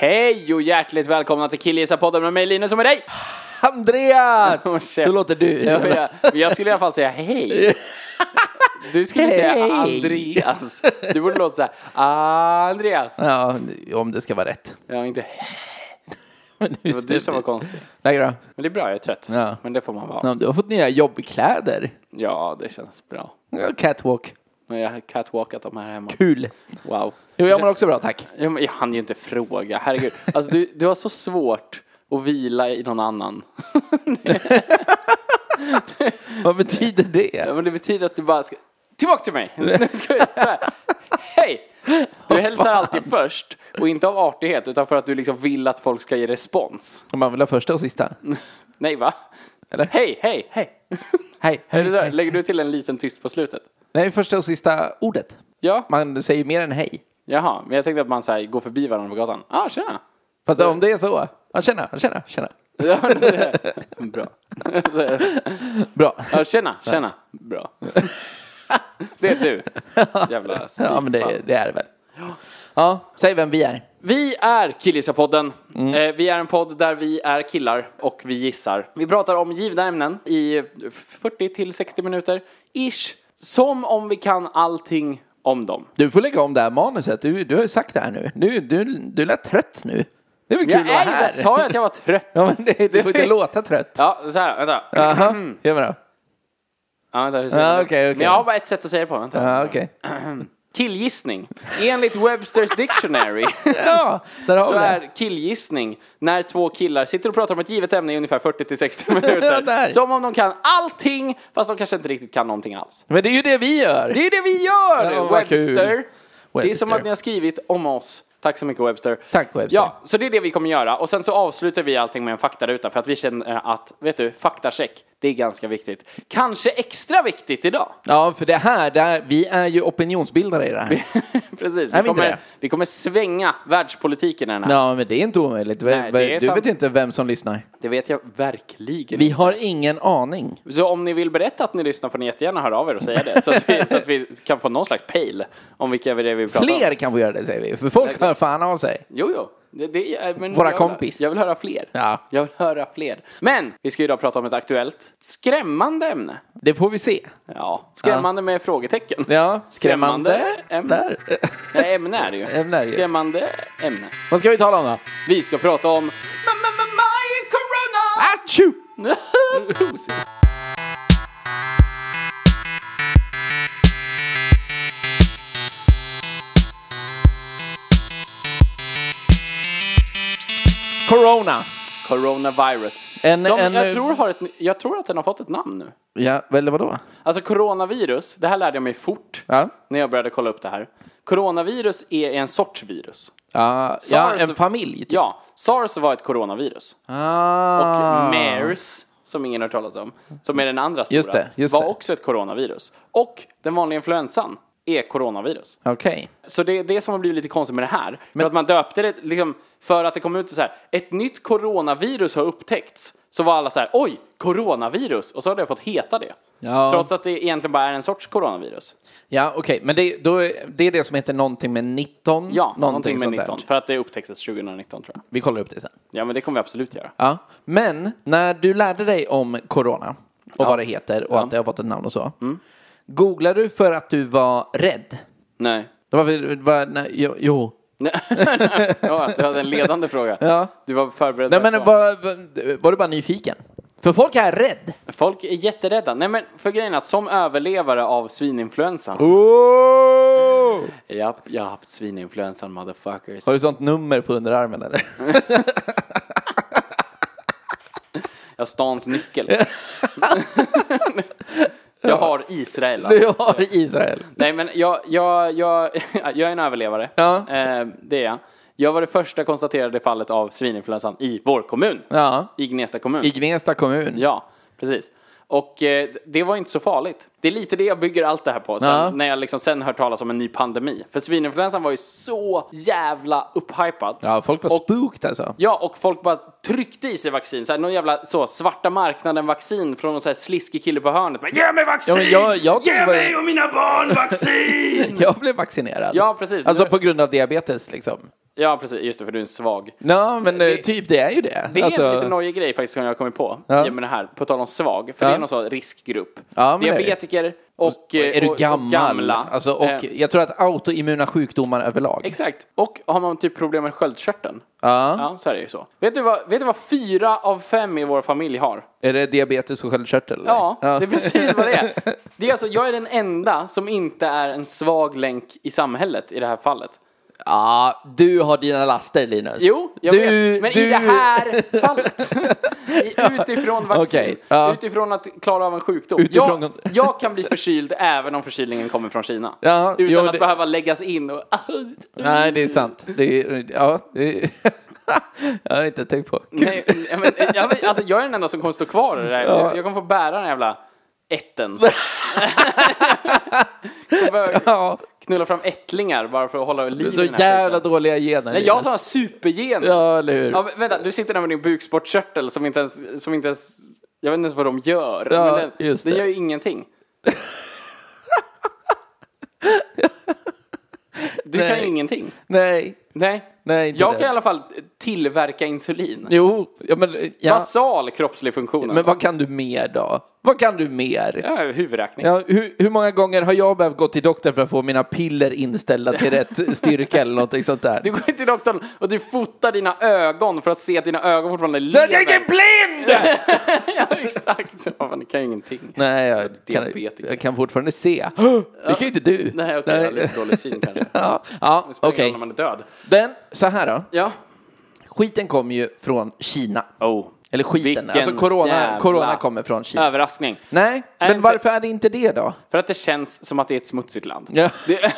Hej och hjärtligt välkomna till Killgissarpodden med mig Linus och med dig! Andreas! Åh, shit. Så låter du. Ja, men Jag, men jag skulle i alla fall säga hej. Du skulle säga Hej. Andreas. Du borde låta såhär, Andreas. Ja, om det ska vara rätt. Ja, inte Men nu Det var du som var konstig. Lägger då? Men det är bra, jag är trött. Ja. Men det får man vara. Ja, Du har fått nya jobbkläder. Ja, det känns bra. Ja, Catwalk. Men jag har catwalkat dem här hemma. Kul. Wow. Jo, jag mår också bra, tack. Ja, men Jag hann ju inte fråga, herregud. Alltså du, du har så svårt att vila i någon annan. Vad betyder Ja, det? men det betyder att du bara ska... Tillbaka till mig! Nu ska jag så här. Hej! Du hälsar alltid först, och inte av artighet, utan för att du liksom vill att folk ska ge respons. Om man vill ha första och sista? Nej, va? Eller? Hej, hej, hej! Hej, Är det hej, så här? hej. Lägger du till en liten tyst på slutet? Nej, första och sista ordet. Ja, Man säger mer än hej. jaha. Men jag tänkte att man så här, går förbi varandra på gatan. Ah, tjena! Fast om det är så. Ja, tjena, tjena, tjena. Ja, det är det. Bra. Bra. Ja, tjena, tjena. Bra. Det är du. Jävla Ja, psykfall. men det, det är det väl. Ja, säg vem vi är. Vi är Killgissarpodden. Mm. Eh, vi är en podd där vi är killar och vi gissar. Vi pratar om givna ämnen i 40 till 60 minuter, ish. Som om vi kan allting om dem. Du får lägga om det här manuset. Du, du har ju sagt det här nu. Du, du, du lät trött nu. Det är väl kul Jag, att vara här. jag sa ju att jag var trött. Ja, men det, du får inte låta trött. Ja, så här, vänta. Jaha, Mm. gör vi då. Ja, vänta, hur säger Ja, man det? okej, okej. Men jag har bara ett sätt att säga det på. Vänta. Ja, okej. Killgissning. Enligt Webster's Dictionary Ja, där har så vi det. är killgissning när två killar sitter och pratar om ett givet ämne i ungefär 40 till 60 Ja, där. minuter. Som om de kan allting, fast de kanske inte riktigt kan någonting alls. Men det är ju det vi gör. Det är ju det vi gör, Ja, vad kul. Webster. Det är som Webster. att ni har skrivit om oss. Tack så mycket Webster. Tack, Webster. Ja, så det är det vi kommer göra. Och sen så avslutar vi allting med en faktaruta för att vi känner att, vet du, faktacheck, det är ganska viktigt. Kanske extra viktigt idag. Ja, för det här, det här, vi är ju opinionsbildare i det här. Precis, Nej, men vi inte det. kommer, vi kommer svänga världspolitiken i den här. Ja, men det är inte omöjligt. Nej, det är du sant. vet inte vem som lyssnar. Det vet jag verkligen Vi har ingen aning. Så om ni vill berätta att ni lyssnar får ni jättegärna höra av er och säga det. Så att vi, så att vi kan få någon slags pejl om vilka det är vi pratar om. Fler kan få göra det, säger vi. För folk hör fan av sig. Jo, jo. Det, det, är- men Våra jag vill- kompis. Jag vill höra fler. Ja. Jag vill höra fler. Men vi ska ju idag prata om ett aktuellt, skrämmande ämne. Det får vi se. Ja, skrämmande med frågetecken. Ja, skrämmande. Skrämmande ämne. Där. Nej, ämne är det ju. Ämne är det ju. Skrämmande ämne. Vad ska vi tala om då? Vi ska prata om... My corona! Atjo! Corona. Coronavirus. Ah! En- Som en- jag, tror har ett, jag tror att den har fått ett namn nu. Ja, eller vadå? Alltså coronavirus, det här lärde jag mig fort Ja. när jag började kolla upp det här. Coronavirus är en sorts virus. Ja, ja SARS- en familj. typ. Ja, sars var ett coronavirus. Och Ah. MERS, som ingen har hört talas om, som är den andra stora, Just det, just var det. också ett coronavirus. Och den vanliga influensan är coronavirus. Okej. Så det är det som har blivit lite konstigt med det här. för att man döpte det liksom, för att det kom ut så här, ett nytt coronavirus har upptäckts. Så var alla så här, oj, coronavirus! Och så har det fått heta det. Ja. Trots att det egentligen bara är en sorts coronavirus. Ja, okej. Men det, då, är- det är det som heter någonting med 19? Ja, någonting, sånt med där. 19. För att det upptäcktes 2019 tror jag. Vi kollar upp det sen. Ja, men det kommer vi absolut göra. Ja. Men när du lärde dig om corona och vad det heter och att det har fått ett namn och så. Googlade du för att du var rädd? Nej. Det var, väl- det var, nej, jo, jo. Ja, du hade en ledande fråga. Ja. Du var förberedd. Nej, på att men svara. var, var, var du bara nyfiken? För folk är rädd. Folk är jätterädda. Nej, men för grejen är att som överlevare av svininfluensan. Oh! Japp, jag har haft svininfluensan motherfuckers. Har du sånt nummer på underarmen eller? Jag har stans nyckel. jag har Israel. alltså. Du har Israel. Nej men jag, jag, jag, jag är en överlevare. Ja. Eh, det är jag. Jag var det första konstaterade fallet av svininfluensan i vår kommun. Ja. I Gnesta kommun. I Gnesta kommun. Ja, precis. Och eh, det var inte så farligt. Det är lite det jag bygger allt det här på. Sen, Ja. När jag liksom sen hör talas om en ny pandemi. För svininfluensan var ju så jävla upphypad. Ja, folk var och, spooked alltså. Ja, och folk bara tryckte i sig vaccin. Såhär, någon jävla så, svarta marknaden-vaccin från någon så här sliskig kille på hörnet. Bara, Ge mig vaccin! Ja, men jag- jag Ge tror bara- mig och mina barn vaccin! Jag blev vaccinerad. Ja, precis. Alltså Nu- på grund av diabetes liksom. ja, precis. Just det, för du är en svag. Ja, men eh, typ det är ju det. Det är Alltså, en lite nojig grej faktiskt som jag har kommit på. Ja. Ja. Med det här, på tal om svag. För Ja. det är någon sån riskgrupp. Ja, men det är det. Diabetiker och, eh, Är du och- gammal? Och gamla. Alltså, och Eh, Jag tror att autoimmuna sjukdomar överlag. exakt. Och har man typ problem med sköldkörteln. ja. Ja, så är det ju så. Vet du, vad, vet du vad fyra av fem i vår familj har? Är det diabetes och sköldkörtel? eller? Ja, det är precis vad det är. Det är alltså, jag är den enda som inte är en svag länk i samhället i det här fallet. Ja, du har dina laster Linus. Jo, jag du, vet. Men i du- det här fallet. I, utifrån vaccin. Okej, ja. Utifrån att klara av en sjukdom. Utifrån- Jag, jag kan bli förkyld även om förkylningen kommer från Kina. Ja, utan jo, att det- behöva läggas in och... Nej, det är sant. Det är, ja, det är... jag har inte tänkt på. Kul. Nej, jag, men, jag, men, alltså, jag är den enda som kommer stå kvar i det här. Ja. Jag kommer få bära den jävla ätten. jag behöver Ja, knulla fram ättlingar bara för att hålla liv i så den här jävla skiten. dåliga gener. Nej, jag har Linus. sådana supergener. Ja, eller hur? Ja, men vänta, du sitter där med din bukspottkörtel som inte ens, som inte ens jag vet inte ens vad de gör. Ja, men den, just den det. gör ju ingenting. Du kan Nej. ju ingenting. Nej, Nej. nej. Inte Jag det. kan i alla fall tillverka insulin. Jo, ja, men... Ja. Basal kroppslig funktion. Men vad kan du mer då? Vad kan du mer? ja, huvudräkning. Ja, hur, hur många gånger har jag behövt gå till doktorn för att få mina piller inställda till rätt styrka eller någonting sånt där? Du går till doktorn och du fotar dina ögon för att se att dina ögon fortfarande Så lever. jag är blind! ja, exakt. Ja, men det kan ju ingenting. Nej, jag kan, Diabetiker. jag kan fortfarande se. Det kan ju inte du. Nej, okej, jag har lite dålig syn kanske. Ja, ja Det spelar ingen roll okej. när man är död. Den, så här då. Ja. Skiten kommer ju från Kina. Oh. Eller skiten, Vilken alltså corona, jävla corona kommer från Kina. Överraskning. Nej, Är men det- varför är det inte det då? För att det känns som att det är ett smutsigt land. Ja. Det,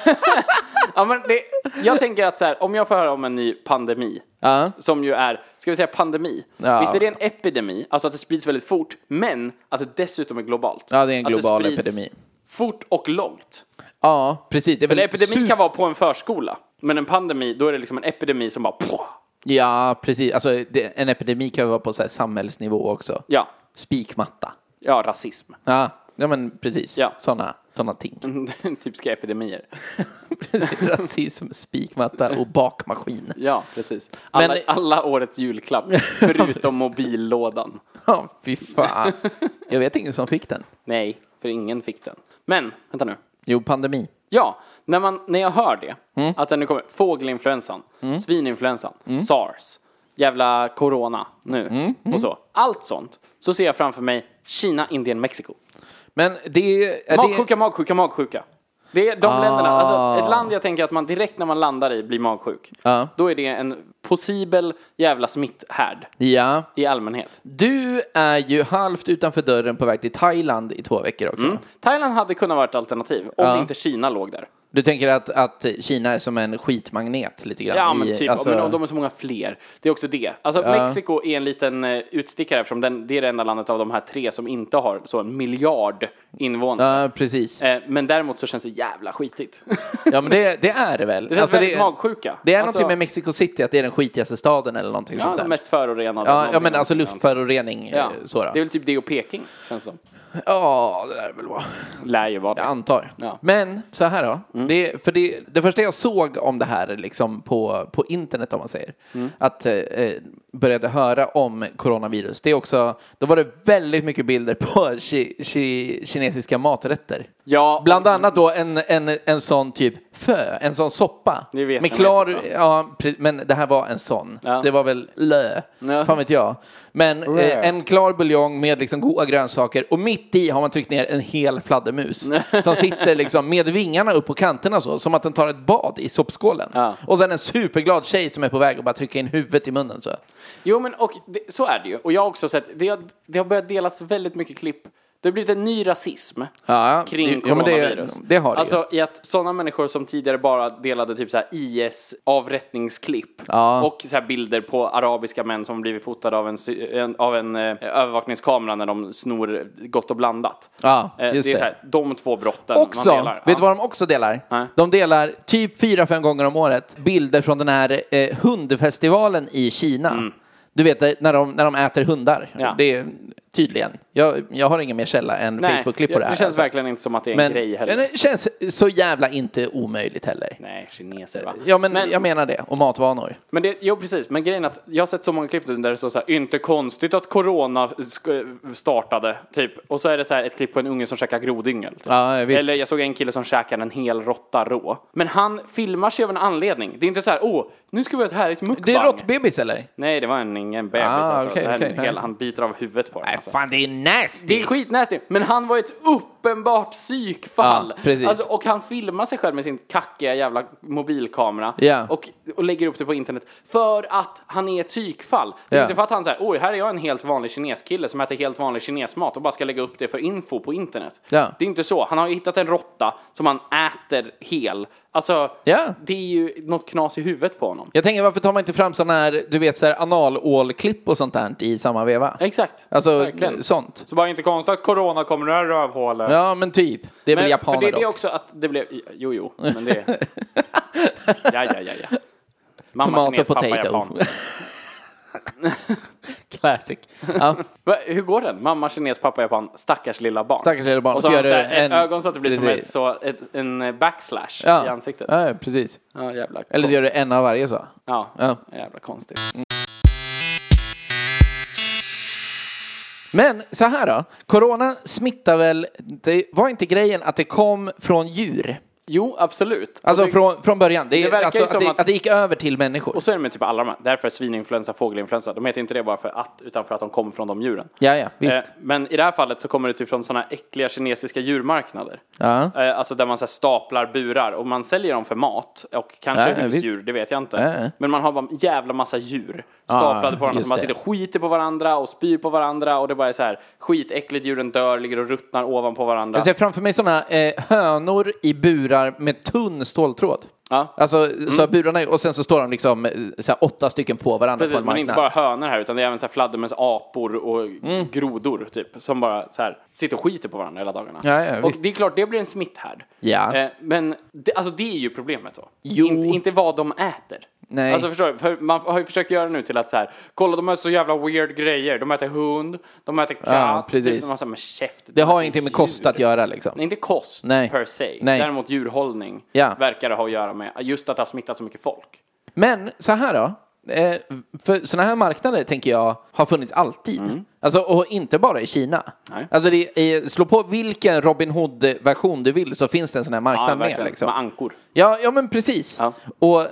ja, men det, jag tänker att så här, om jag får höra om en ny pandemi, Ja. som ju är, ska vi säga pandemi? Ja. Visst är det en epidemi, alltså att det sprids väldigt fort, men att det dessutom är globalt. Ja, det är en Att global sprids epidemi. Fort och långt. Ja, precis. Det är väl En epidemi super- kan vara på en förskola, men en pandemi, då är det liksom en epidemi som bara... Poh! Ja, precis. Alltså, det, en epidemi kan ju vara på så här samhällsnivå också. Ja, Spikmatta. ja, rasism. Ja, ja men precis. Ja. Mhm. Sådana såna ting. Typiska epidemier. Precis. Rasism, spikmatta och bakmaskin. Ja, precis. Alla, Men- alla årets julklapp, förutom mobillådan. Ja, fy fan. Jag vet ingen som fick den. Nej, för ingen fick den. Men, vänta nu. Jo, pandemi. Ja, när, man, när jag hör det, att den nu kommer, fågelinfluensan, svininfluensan, sars, jävla corona nu och så. Allt sånt. Så ser jag framför mig Kina, Indien, Mexiko. Men det är... Magsjuka, magsjuka, magsjuka. Det är de länderna, Ah. alltså ett land jag tänker att man direkt när man landar i blir magsjuk. Ja. Då är det en possibel jävla smitthärd Det, ja. i allmänhet. Du är ju halvt utanför dörren på väg till Thailand i två veckor Mm. också. Thailand hade kunnat vara ett alternativ om Ja. inte Kina låg där. Du tänker att, att Kina är som en skitmagnet lite grann? Ja, i- men typ. alltså- Men de, de är så många fler. Det är också det. Alltså, Mexiko är en liten eh, utstickare eftersom den, det är det enda landet av de här tre som inte har så en miljard invånare. Ja, precis. Eh, men däremot så känns det jävla skitigt. Ja, men det, det är det väl. Det känns väldigt magsjuka. Det är Alltså- någonting med Mexico City, att det är den skitigaste staden eller någonting ja, sånt de där. mest förorenade. Ja, någonting ja, men annat. alltså luftförorening. Ja. Ja. Så då. Det är väl typ det och Peking, känns som. Ja, det där är väl vad Lär ju vara det. jag antar. Ja. Mm. Men så här då. Det, för det, det första jag såg om det här liksom på, på internet om man säger. Mm. Att eh, eh, började höra om coronavirus. Det är också, då var det väldigt mycket bilder på ki, ki, kinesiska maträtter. Ja, Bland annat då en, en, en sån typ fö, en sån soppa. Ni vet med den klar, nästa. ja, pre- men det här var en sån. Ja. Det var väl lö, Ja. fan vet jag. Men Rö. eh, en klar buljong med liksom goda grönsaker och mitt i har man tryckt ner en hel fladdermus som sitter liksom med vingarna upp på kanterna så, som att den tar ett bad i soppskålen. Ja. Och sen en superglad tjej som är på väg att bara trycka in huvudet i munnen så. Jo, men och det, så är det ju. Och jag har också sett, det har, det har börjat delas väldigt mycket klipp Det har blivit en ny rasism Ja, kring ja, men det- coronavirus. det har det ju. Alltså i att sådana människor som tidigare bara delade typ så här IS-avrättningsklipp Ja. och så här bilder på arabiska män som blivit fotade av en, sy- en, av en eh, övervakningskamera när de snor gott och blandat. Ja, Eh, just det är det. Så här, de två brotten Också, man delar. vet du vad de också delar? Nej. De delar typ fyra fem gånger om året bilder från den här eh, hundfestivalen i Kina. Du vet eh, när de, när de äter hundar. Mm. Ja. Det är tydligen. Jag, jag har ingen mer källa än Nej, Facebook-klipp på det här. Det känns alltså. verkligen inte som att det är en men, grej heller. men det känns så jävla inte omöjligt heller. Nej, kineser va? Ja, men, jag menar det. Och matvanor. Men det, jo precis, men grejen är att jag har sett så många klipp nu där det står så här, inte konstigt att corona sk- startade, typ. Och så är det så här ett klipp på en unge som käkar grodyngel. Typ. Ja, visst. Eller jag såg en kille som käkade en hel råtta rå. Men han filmar sig av en anledning. Det är inte så här, åh, nu ska vi ha ett härligt mukbang. Det är råttbebis eller? Nej, det var en, ingen bebis Ah, alltså. okej, det här är en okej. hel, han biter av huvudet på den. Alltså. Fan, det är nasty! Det är skitnasty, men han var ett uppenbart psykfall. Ja, precis. alltså, och han filmar sig själv med sin kackiga jävla mobilkamera Ja. och, och lägger upp det på internet för att han är ett psykfall. Det är Ja. inte för att han säger oj, här är jag en helt vanlig kineskille som äter helt vanlig kinesmat och bara ska lägga upp det för info på internet. Ja. Det är inte så. Han har ju hittat en råtta som han äter hel. Alltså, Ja. det är ju något knas i huvudet på honom. Jag tänker, varför tar man inte fram sådana här, du vet, så här analålklipp och sånt där i samma veva? Exakt. Alltså, Verkligen. sånt. Så bara inte konstigt att corona kommer ur rövhålet. Ja, men typ. Det är väl Men, för japaner det, det är dock. också att det blev, jo jo, men det... ja, ja, ja, ja. Mamma Tomat kines, och pappa potato. japan. Classic. Ja, Va, hur går den? Mamma kines, pappa japan, stackars lilla barn. Stackars lilla barn. Och så Så har de gör så det här, en- ögon så att det blir som precis. ett, så, ett, en backslash ja. i ansiktet. Ja, Ja, precis. jävla Eller så konst. gör du en av varje så. Ja, Ja. jävla konstigt. Men så här då. Corona smittar väl, det var inte grejen att det kom från djur? Jo, absolut. Alltså Och det- från, från början. Det, Det är verkar alltså, ju att, som det, att- att... det gick över till människor. Och så är det med typ alla de här. Därför är svininfluensa, fågelinfluensa. De heter inte det bara för att, utan för att de kommer från de djuren. Ja, ja, visst. Eh, men i det här fallet så kommer det typ från sådana äckliga kinesiska djurmarknader. Ja. Eh, alltså där man så här, staplar burar och man säljer dem för mat och kanske Ja, ja, husdjur, det vet jag inte. Ja, ja. Men man har bara en jävla massa djur staplade på varandra just som bara det. sitter och skiter på varandra och spyr på varandra och det bara är så här skitäckligt, djuren dör, ligger och ruttnar ovanpå varandra. Jag ser framför mig sådana eh, hönor i burar med tunn ståltråd. Ja. Alltså, så Mm. burarna, är- och sen så står de liksom eh, så här, åtta stycken på varandra på Precis, en men inte marknad. Mm. bara hönor här utan det är även så här fladdermöss, apor och grodor typ som bara så här sitter och skiter på varandra hela dagarna. Ja, ja, och visst. det är klart, det blir en smitthärd. Ja. Eh, men det, alltså det är ju problemet då. Jo. Inte, inte vad de äter. Nej. Alltså förstår du? För man har ju försökt göra nu till att så här, kolla de har så jävla weird grejer. De äter hund, de äter katt. Ja, precis. Typ, man säger, men käft. Det de har äter ingenting med djur." kost att göra liksom. Nej, inte kost Nej. per se. Nej. Däremot djurhållning Ja. verkar det ha att göra med just att det har smittat så mycket folk. Men så här då. Eh, för sådana här marknader tänker jag har funnits alltid. Alltså, och inte bara i Kina. Mm. Nej. Alltså det är, slå på vilken Robin Hood-version du vill så finns det en sån här Ja, marknad med. verkligen. Liksom. Med ankor. Ja, ja, men precis. Ja. Och,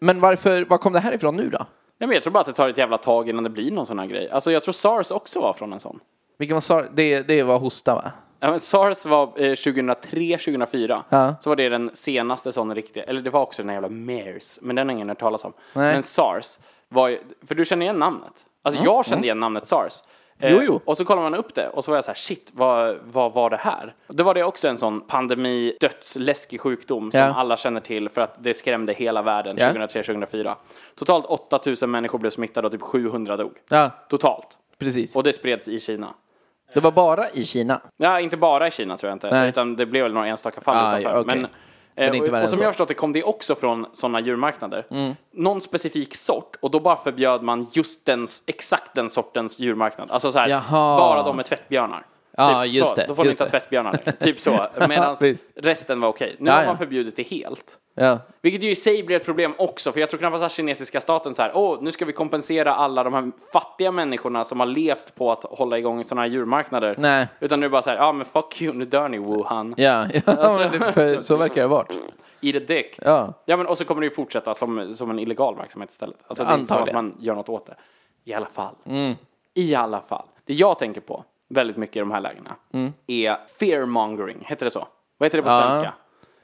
men varför, var kom det här ifrån nu då? Ja, men jag tror bara att det tar ett jävla tag innan det blir någon sån här grej. Alltså jag tror sars också var från en sån. Vilken var sar- det, det var hosta va? Ja, men sars var eh, 2003, 2004. Ja. Så var det den senaste sån riktiga, eller det var också den här jävla MERS, men den har ingen hört talas om. Nej. Men sars var ju, för du känner igen namnet. Alltså jag kände igen namnet sars. Eh, Jo, jo. Och så kollar man upp det och så var jag så här, shit, vad, vad var det här? Det var det också en sån pandemi, dödsläskig sjukdom som Ja. alla känner till för att det skrämde hela världen Ja. 2003-2004. Totalt 8000 människor blev smittade och typ 700 dog. Ja, Totalt. precis. Och det spreds i Kina. Det var bara i Kina. Ja, inte bara i Kina tror jag inte. Nej. Utan det blev väl några enstaka fall Ah, utanför. ja, okej. Men, eh, Men inte värre och, och än som så. Mm. jag har förstått det kom det också från sådana djurmarknader. Någon specifik sort och då bara förbjöd man just den, exakt den sortens djurmarknad. Alltså så här, Jaha. bara de med tvättbjörnar. Typ Ja, just så, det, Då får du just inte ha det. tvättbjörnar längre. Typ så. Medan Visst. resten var okej. Nu Ja, har ja. man förbjudit det helt. Ja. Vilket ju i sig blir ett problem också, för jag tror knappast att kinesiska staten så här, åh, nu ska vi kompensera alla de här fattiga människorna som har levt på att hålla igång sådana här djurmarknader. Nej. Utan nu är det bara så här, ja men fuck you, nu dör ni Wuhan. Ja, ja Alltså, men för, så verkar det ha varit. Eat a dick. Ja. ja men och så kommer det ju fortsätta som, som en illegal verksamhet istället. Alltså det är inte så att Antagligen. Mm. man gör något åt det. I alla fall. I alla fall. Det jag tänker på väldigt mycket i de här lägena Mm. är fearmongering, heter det så? Vad heter det på svenska?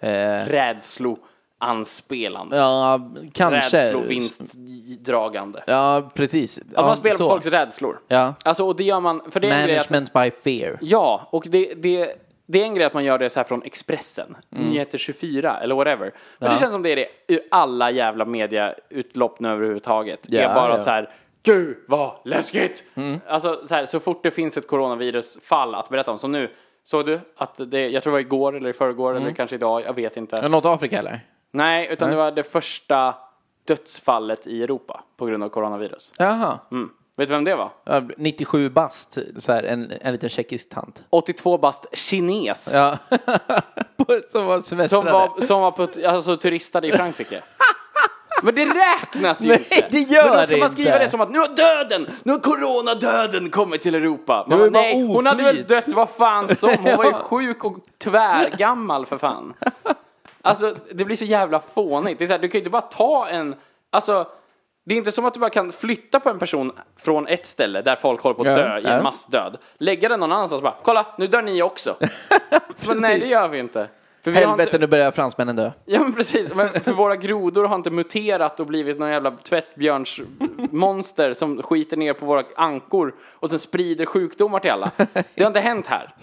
Eh, Rädslo. anspelande. Ja, kanske. Rädslovinstdragande. Ja, precis. Att man spelar på folks rädslor. Ja. Alltså, och det gör man, för det är en grej att Management by fear. Ja, och det, det, det är en grej att man gör det så här från Expressen, Mm. Nyheter 24 eller whatever. Men det känns som det är det ur alla jävla mediautlopp nu överhuvudtaget. Det Ja, är bara ja. Mm. så här, gud vad läskigt! Alltså så, här, så fort det finns ett coronavirusfall att berätta om, som nu, såg du att det, jag tror det var igår eller i förrgår Mm. eller kanske idag, jag vet inte. Är det något Afrika eller? Nej, utan det var det första dödsfallet i Europa på grund av coronavirus. Jaha. Mm. Vet du vem det var? Ja, 97 bast, så här, en, en liten tjeckisk tant. 82 bast kines. Ja. På- som var semestrade. Som var, som var på, t- alltså, turistade i Frankrike. Men det räknas ju Nej, inte! det gör Men då ska det man skriva inte. det som att nu har döden, nu har coronadöden kommit till Europa. Man Det var bara, ju bara nej, hon hade väl oflyt. dött vad fan som, hon var ju sjuk och tvärgammal för fan. Alltså det blir så jävla fånigt. Det är så här, du kan ju inte bara ta en, alltså det är inte som att du bara kan flytta på en person från ett ställe där folk håller på att Ja, dö i ja. en massdöd. Lägga den någon annanstans och bara, kolla nu dör ni också. Men nej det gör vi inte. För vi har Helvete, nu börjar fransmännen dö. Ja men precis, men för våra grodor har inte muterat och blivit någon jävla tvättbjörnsmonster som skiter ner på våra ankor och sen sprider sjukdomar till alla. Det har inte hänt här.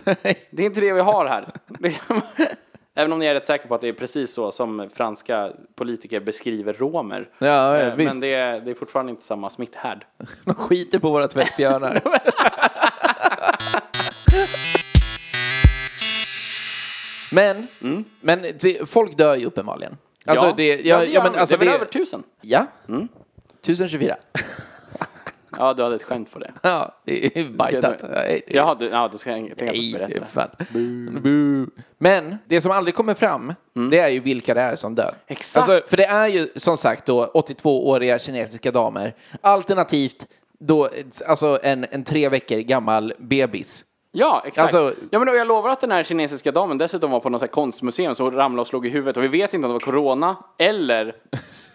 Det är inte det vi har här. Det- Även om jag är rätt säker på att det är precis så som franska politiker beskriver romer. Ja, Eh, ja visst. Men det är, det är fortfarande inte samma smitthärd. De skiter på våra tvättbjörnar. men, men det, folk dör ju uppenbarligen. Alltså, ja, det, ja, jag, det Mm. ja, gör men, vi. alltså, det är väl det, över tusen? Ja. 1024. Ja, du hade ett skämt på det. Ja, det är bajtat. Jaha, du, ja, du ska jag tänka Nej, berätta det är det. fan. Boo. Men det som aldrig kommer fram, det är ju vilka det är som dör. Mm. Alltså, Exakt. för det är ju som sagt då 82-åriga kinesiska damer, alternativt då, alltså en, en tre veckor gammal bebis. Ja, exakt. Alltså- ja, men och jag lovar att den här kinesiska damen dessutom var på något så här konstmuseum så hon ramlade och slog i huvudet. Och vi vet inte om det var corona eller Stendahls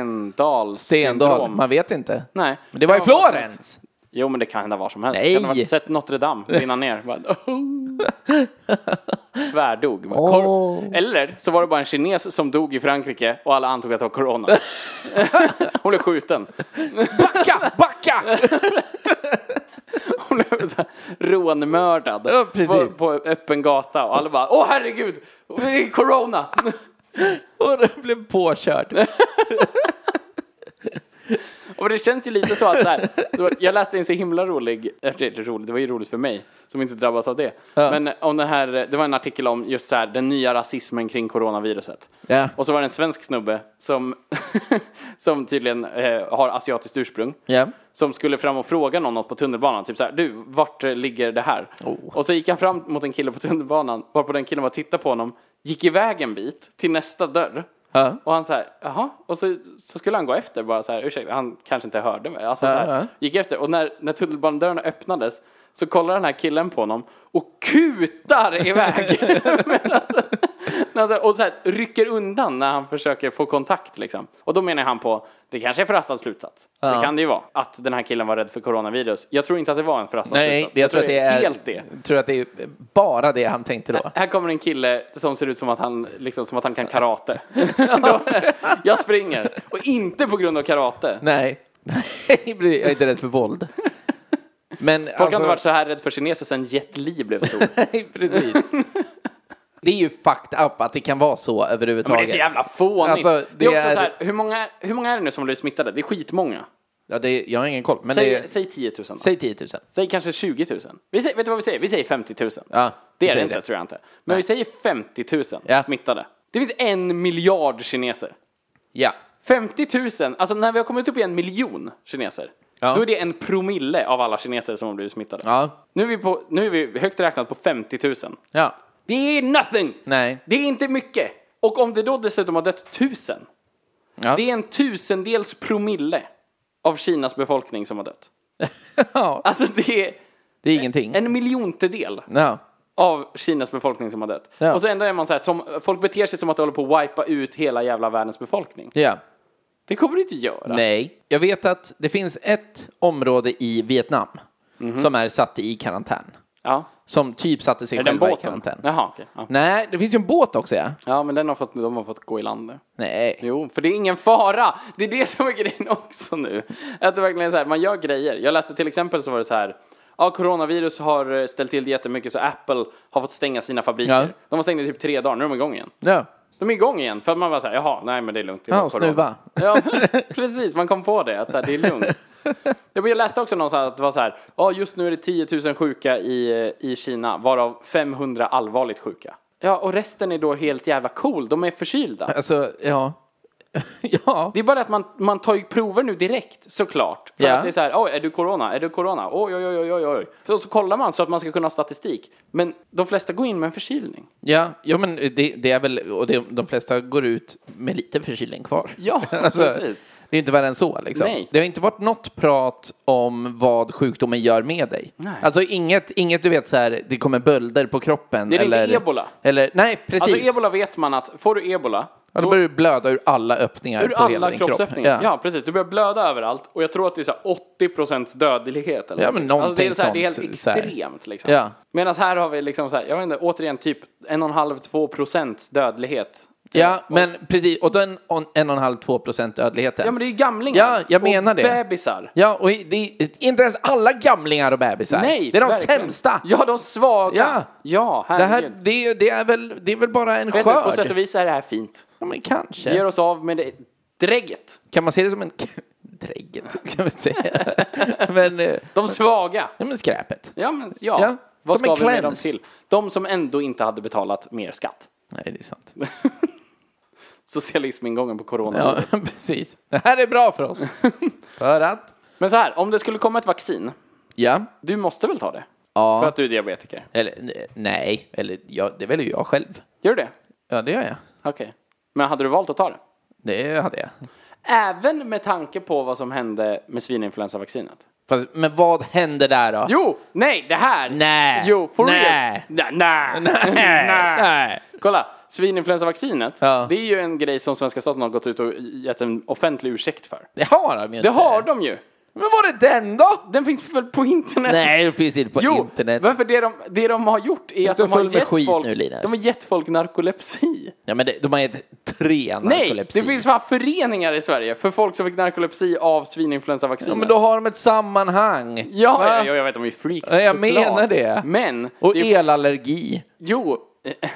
Stendal, syndrom. man vet inte. Nej. Men det var i Kan vara vad som helst. Florens! Jo, men det kan hända var som helst. Nej. Kan ha varit sett Notre Dame brinna ner. Bara, Tvärdog. Bara, Åh. kor- Eller så var det bara en kines som dog i Frankrike och alla antog att det var corona. hon blev skjuten. Backa, backa! Hon blev så här rånmördad Ja, på, precis. på öppen gata och alla bara åh herregud, det är corona! Och den blev påkörd. och det känns ju lite så att så här, då- jag läste en så himla rolig, eller rolig, det var ju roligt för mig som inte drabbas av det. Men om det här, det var en artikel om just så här den nya rasismen kring coronaviruset. Ja. Och så var det en svensk snubbe som, som tydligen eh, har asiatiskt ursprung. Ja. som skulle fram och fråga någon något på tunnelbanan. Typ så här, du, vart eh, ligger det här? Och så gick han fram mot en kille på tunnelbanan, varpå den killen bara tittade på honom, gick iväg en bit till nästa dörr. Ja. Och han så här, jaha? Och så, så skulle han gå efter bara så här, ursäkta, han kanske inte hörde mig. Alltså så Ja, ja. här, gick efter. Och när, när tunnelbanedörrarna öppnades så kollar den här killen på honom och kutar iväg. När han så här- alltså, och så här, rycker undan när han försöker få kontakt liksom. Och då menar han på, det kanske är förhastad slutsats. Det kan det ju vara. Att den här killen var rädd för coronavirus. Jag tror inte att det var en förhastad Nej, slutsats. jag tror att det är, helt det. tror att det är bara det han tänkte då. Här kommer en kille som ser ut som att han, liksom, som att han kan karate. Då- jag springer. Och inte på grund av karate. Nej, Nej, jag är inte rädd för våld. Men alltså- Folk har inte varit så här rädd för kineser sedan Jet Li blev stor. Men Nej, precis. Det är ju fucked up att det kan vara så överhuvudtaget. det är så jävla fånigt. Alltså, det, det är också är- så här, hur många, hur många är det nu som blir smittade? Det är skitmånga. Ja, det är, jag har ingen koll. Men Säg, det är, säg 10 000 då. säg 10 000. Säg kanske 20 000. Vi säger, vet du vad vi säger? Vi säger 50 000. Ja, det vi är det säger inte, det. tror jag inte. Men vi säger 50 000 Ja. smittade. Det finns en miljard kineser. Ja. 50 000, alltså när vi har kommit upp i en miljon kineser, Ja. då är det en promille av alla kineser som har blivit smittade. Ja. Nu, är vi på, nu är vi högt räknat på 50 000. Ja. Det är nothing! Nej. Det är inte mycket. Och om det då dessutom har dött tusen, Ja. det är en tusendels promille av Kinas befolkning som har dött. Ja. Alltså det är Det är ingenting. en miljontedel Ja. av Kinas befolkning som har dött. Ja. Och så ändå är man så här, som, folk beter sig som att de håller på att wipa ut hela jävla världens befolkning. ja. Det kommer du inte göra. Nej. Jag Mhm. vet att det finns ett område i Vietnam som är satt i karantän. Ja. Som typ satte sig Är den själva i båten? karantän. Jaha, okej. Ja. Nej, det finns ju en båt också ja. ja, men den har fått, de har fått gå i land nu. Nej. Jo, för det är ingen fara. Det är det som är grejen också nu. Att det verkligen är så här, man gör grejer. Jag läste till exempel så var det så här. Ja, coronavirus har ställt till det jättemycket så Apple har fått stänga sina fabriker. Ja. De var stängda i typ tre dagar, nu är de igång igen. Ja. De är igång igen för att man bara såhär, jaha, nej men det är lugnt. det är Ja, bara corona. snuva. Ja, precis. Man kom på det, att så här, det är lugnt. Ja, men Jag läste också någonstans att det var så här, ja just nu är det 10 000 sjuka i, i Kina, varav 500 allvarligt sjuka. Ja, och resten är då helt jävla cool, de är förkylda. Alltså, ja. ja. Det är bara att man, man tar ju prover nu direkt, såklart. För Ja. att det är så här, oj, är du corona? Är du corona? Oj, oj, oj, oj, oj. För- Och så kollar man så att man ska kunna ha statistik. Men de flesta går in med en förkylning. Ja, ja men det, det är väl, och det, de flesta går ut med lite förkylning kvar. Alltså, Ja, precis. Det är inte värre än så liksom. Nej. Det har inte varit något prat om vad sjukdomen gör med dig. Nej. Alltså inget, inget du vet så här, det kommer bölder på kroppen. Det är inte eller, ebola. Eller, nej, precis. Alltså ebola vet man att får du ebola, ja, då då- börjar du blöda ur alla öppningar Ur på hela alla din kroppsöppningar. kropp. Ja. precis. Du börjar blöda överallt och jag tror att det är så här 80 dödlighet. Eller Ja, någonting. men alltså det, är någonting så här, det är helt sånt, så här. extremt. Liksom. Ja. Medan här har vi liksom så här, jag vet inte, återigen typ 1,5-2 dödlighet. Ja, men precis. Och den on- en och en halv, två procent dödligheten. Ja, men det är ju gamlingar. Ja, jag menar och det. bebisar. Ja, och i- det är inte ens alla gamlingar och bebisar. Nej, det är de verkligen. sämsta. Ja, de svaga. Ja. ja Det, herregud. här, det, det, är väl, det är väl bara en Vet du, på skörd? sätt och vis är det här fint. Ja, men Vi gör kanske. oss av med det drägget. Kan man se det som en... Drägget, kan man säga. men, eh, De svaga. ja, men skräpet. Ja, men ja. Ja, Vad som ska en vi med dem cleanse. till? De som ändå inte hade betalat mer skatt. Nej, det är sant. Socialismingången på corona. Ja, precis. Det här är bra för oss. för att... Men så här, om det skulle komma ett vaccin, Ja. du måste väl ta det? Ja. För att du är diabetiker. Eller nej, eller ja, det väljer jag själv. Gör du det? Ja, det gör jag. Okej. Men hade du valt att ta det? Det hade jag. Även med tanke på vad som hände med svininfluensavaccinet? Fast, men vad hände där då? Jo! Nej, det här! Nej. Jo, for Nej. reals! Nej! Nej! Nej. Kolla, svininfluensavaccinet, Ja. det är ju en grej som svenska staten har gått ut och gett en offentlig ursäkt för. Det har de ju Det inte. har de ju! Men var det den då? Den finns väl på internet? Nej, det finns inte på Jo, internet. varför det de, det de har gjort är att du de har, full med gett skit folk, nu, Linus. de har gett folk narkolepsi. Ja, men det, de har gett tre Nej, narkolepsi. det finns fan föreningar i Sverige för folk som fick narkolepsi av svininfluensavaccinet. Ja, men då har de ett sammanhang. Ja, Va? ja, ja, jag vet, de är freaks Ja, jag såklart. menar det. Men, Och det är, elallergi. jo,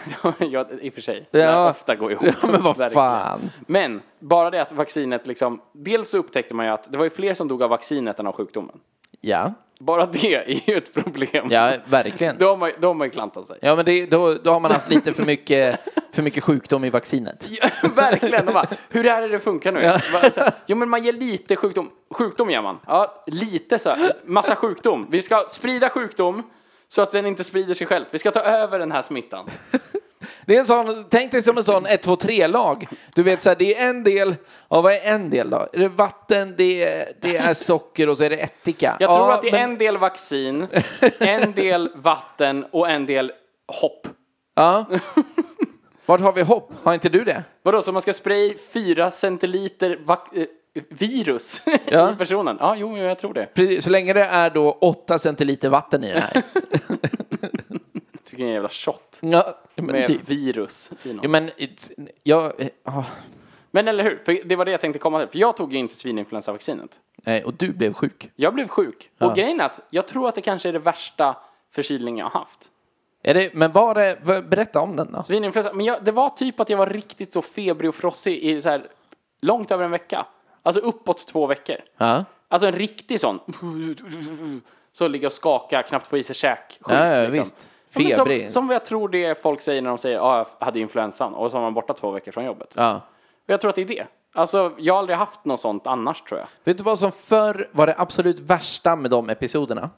ja, i och för sig, Ja. det här ofta går ihop. Ja, men vad Verkligen. fan. Men, bara det att vaccinet liksom, dels så upptäckte man ju att det var ju fler som dog av vaccinet än av sjukdomen. Ja, Bara det är ju ett problem. ja verkligen. Då har man, då har man ju klantat sig. Ja, men det, då, då har man haft lite för mycket, för mycket sjukdom i vaccinet. Ja, verkligen. De bara, hur är det det funkar nu? Bara så här, Jo, men man ger lite sjukdom. Sjukdom ger man. Ja, lite så här. Massa sjukdom. Vi ska sprida sjukdom så att den inte sprider sig själv. Vi ska ta över den här smittan. Det är en sån, tänk dig som en sån 1, 2, 3-lag. Du vet så här, det är en del, ja vad är en del då? Är det vatten, det är, det är socker och så är det ättika. Jag tror ja, att det är men- en del vaccin, en del vatten och en del hopp. Ja. Vart har vi hopp? Har inte du det? Vadå, så man ska spraya fyra centiliter vac- eh, virus Ja. i personen? Ja, jo, jo, jag tror det. Precis, Så länge det är då 8 centiliter vatten i det här. Jag tycker det är en jävla shot Ja, men med typ. virus i någon. Ja, men, it's- jag, ah, Men eller hur? För det var det jag tänkte komma till. För jag tog ju inte svininfluensavaccinet. nej, och du blev sjuk. Jag blev sjuk. Och grejen är att jag tror att det kanske är det värsta förkylning jag har haft. Är det, men var det, vad- berätta om den då. Svininfluensa. Men jag, det var typ att jag var riktigt så febrig och frossig i så här långt över en vecka. Alltså uppåt två veckor. Ja. Alltså en riktig sån. Så ligger och skakar, knappt får i sig käk. Sjuk, Ja, ja, visst. Ja, men Febrig. Som, som jag tror det folk säger när de säger att jag hade influensan och så var man borta två veckor från jobbet. Ja. Och jag tror att det är det. Alltså, jag har aldrig haft något sånt annars tror jag. Vet du vad som förr var det absolut värsta med de episoderna?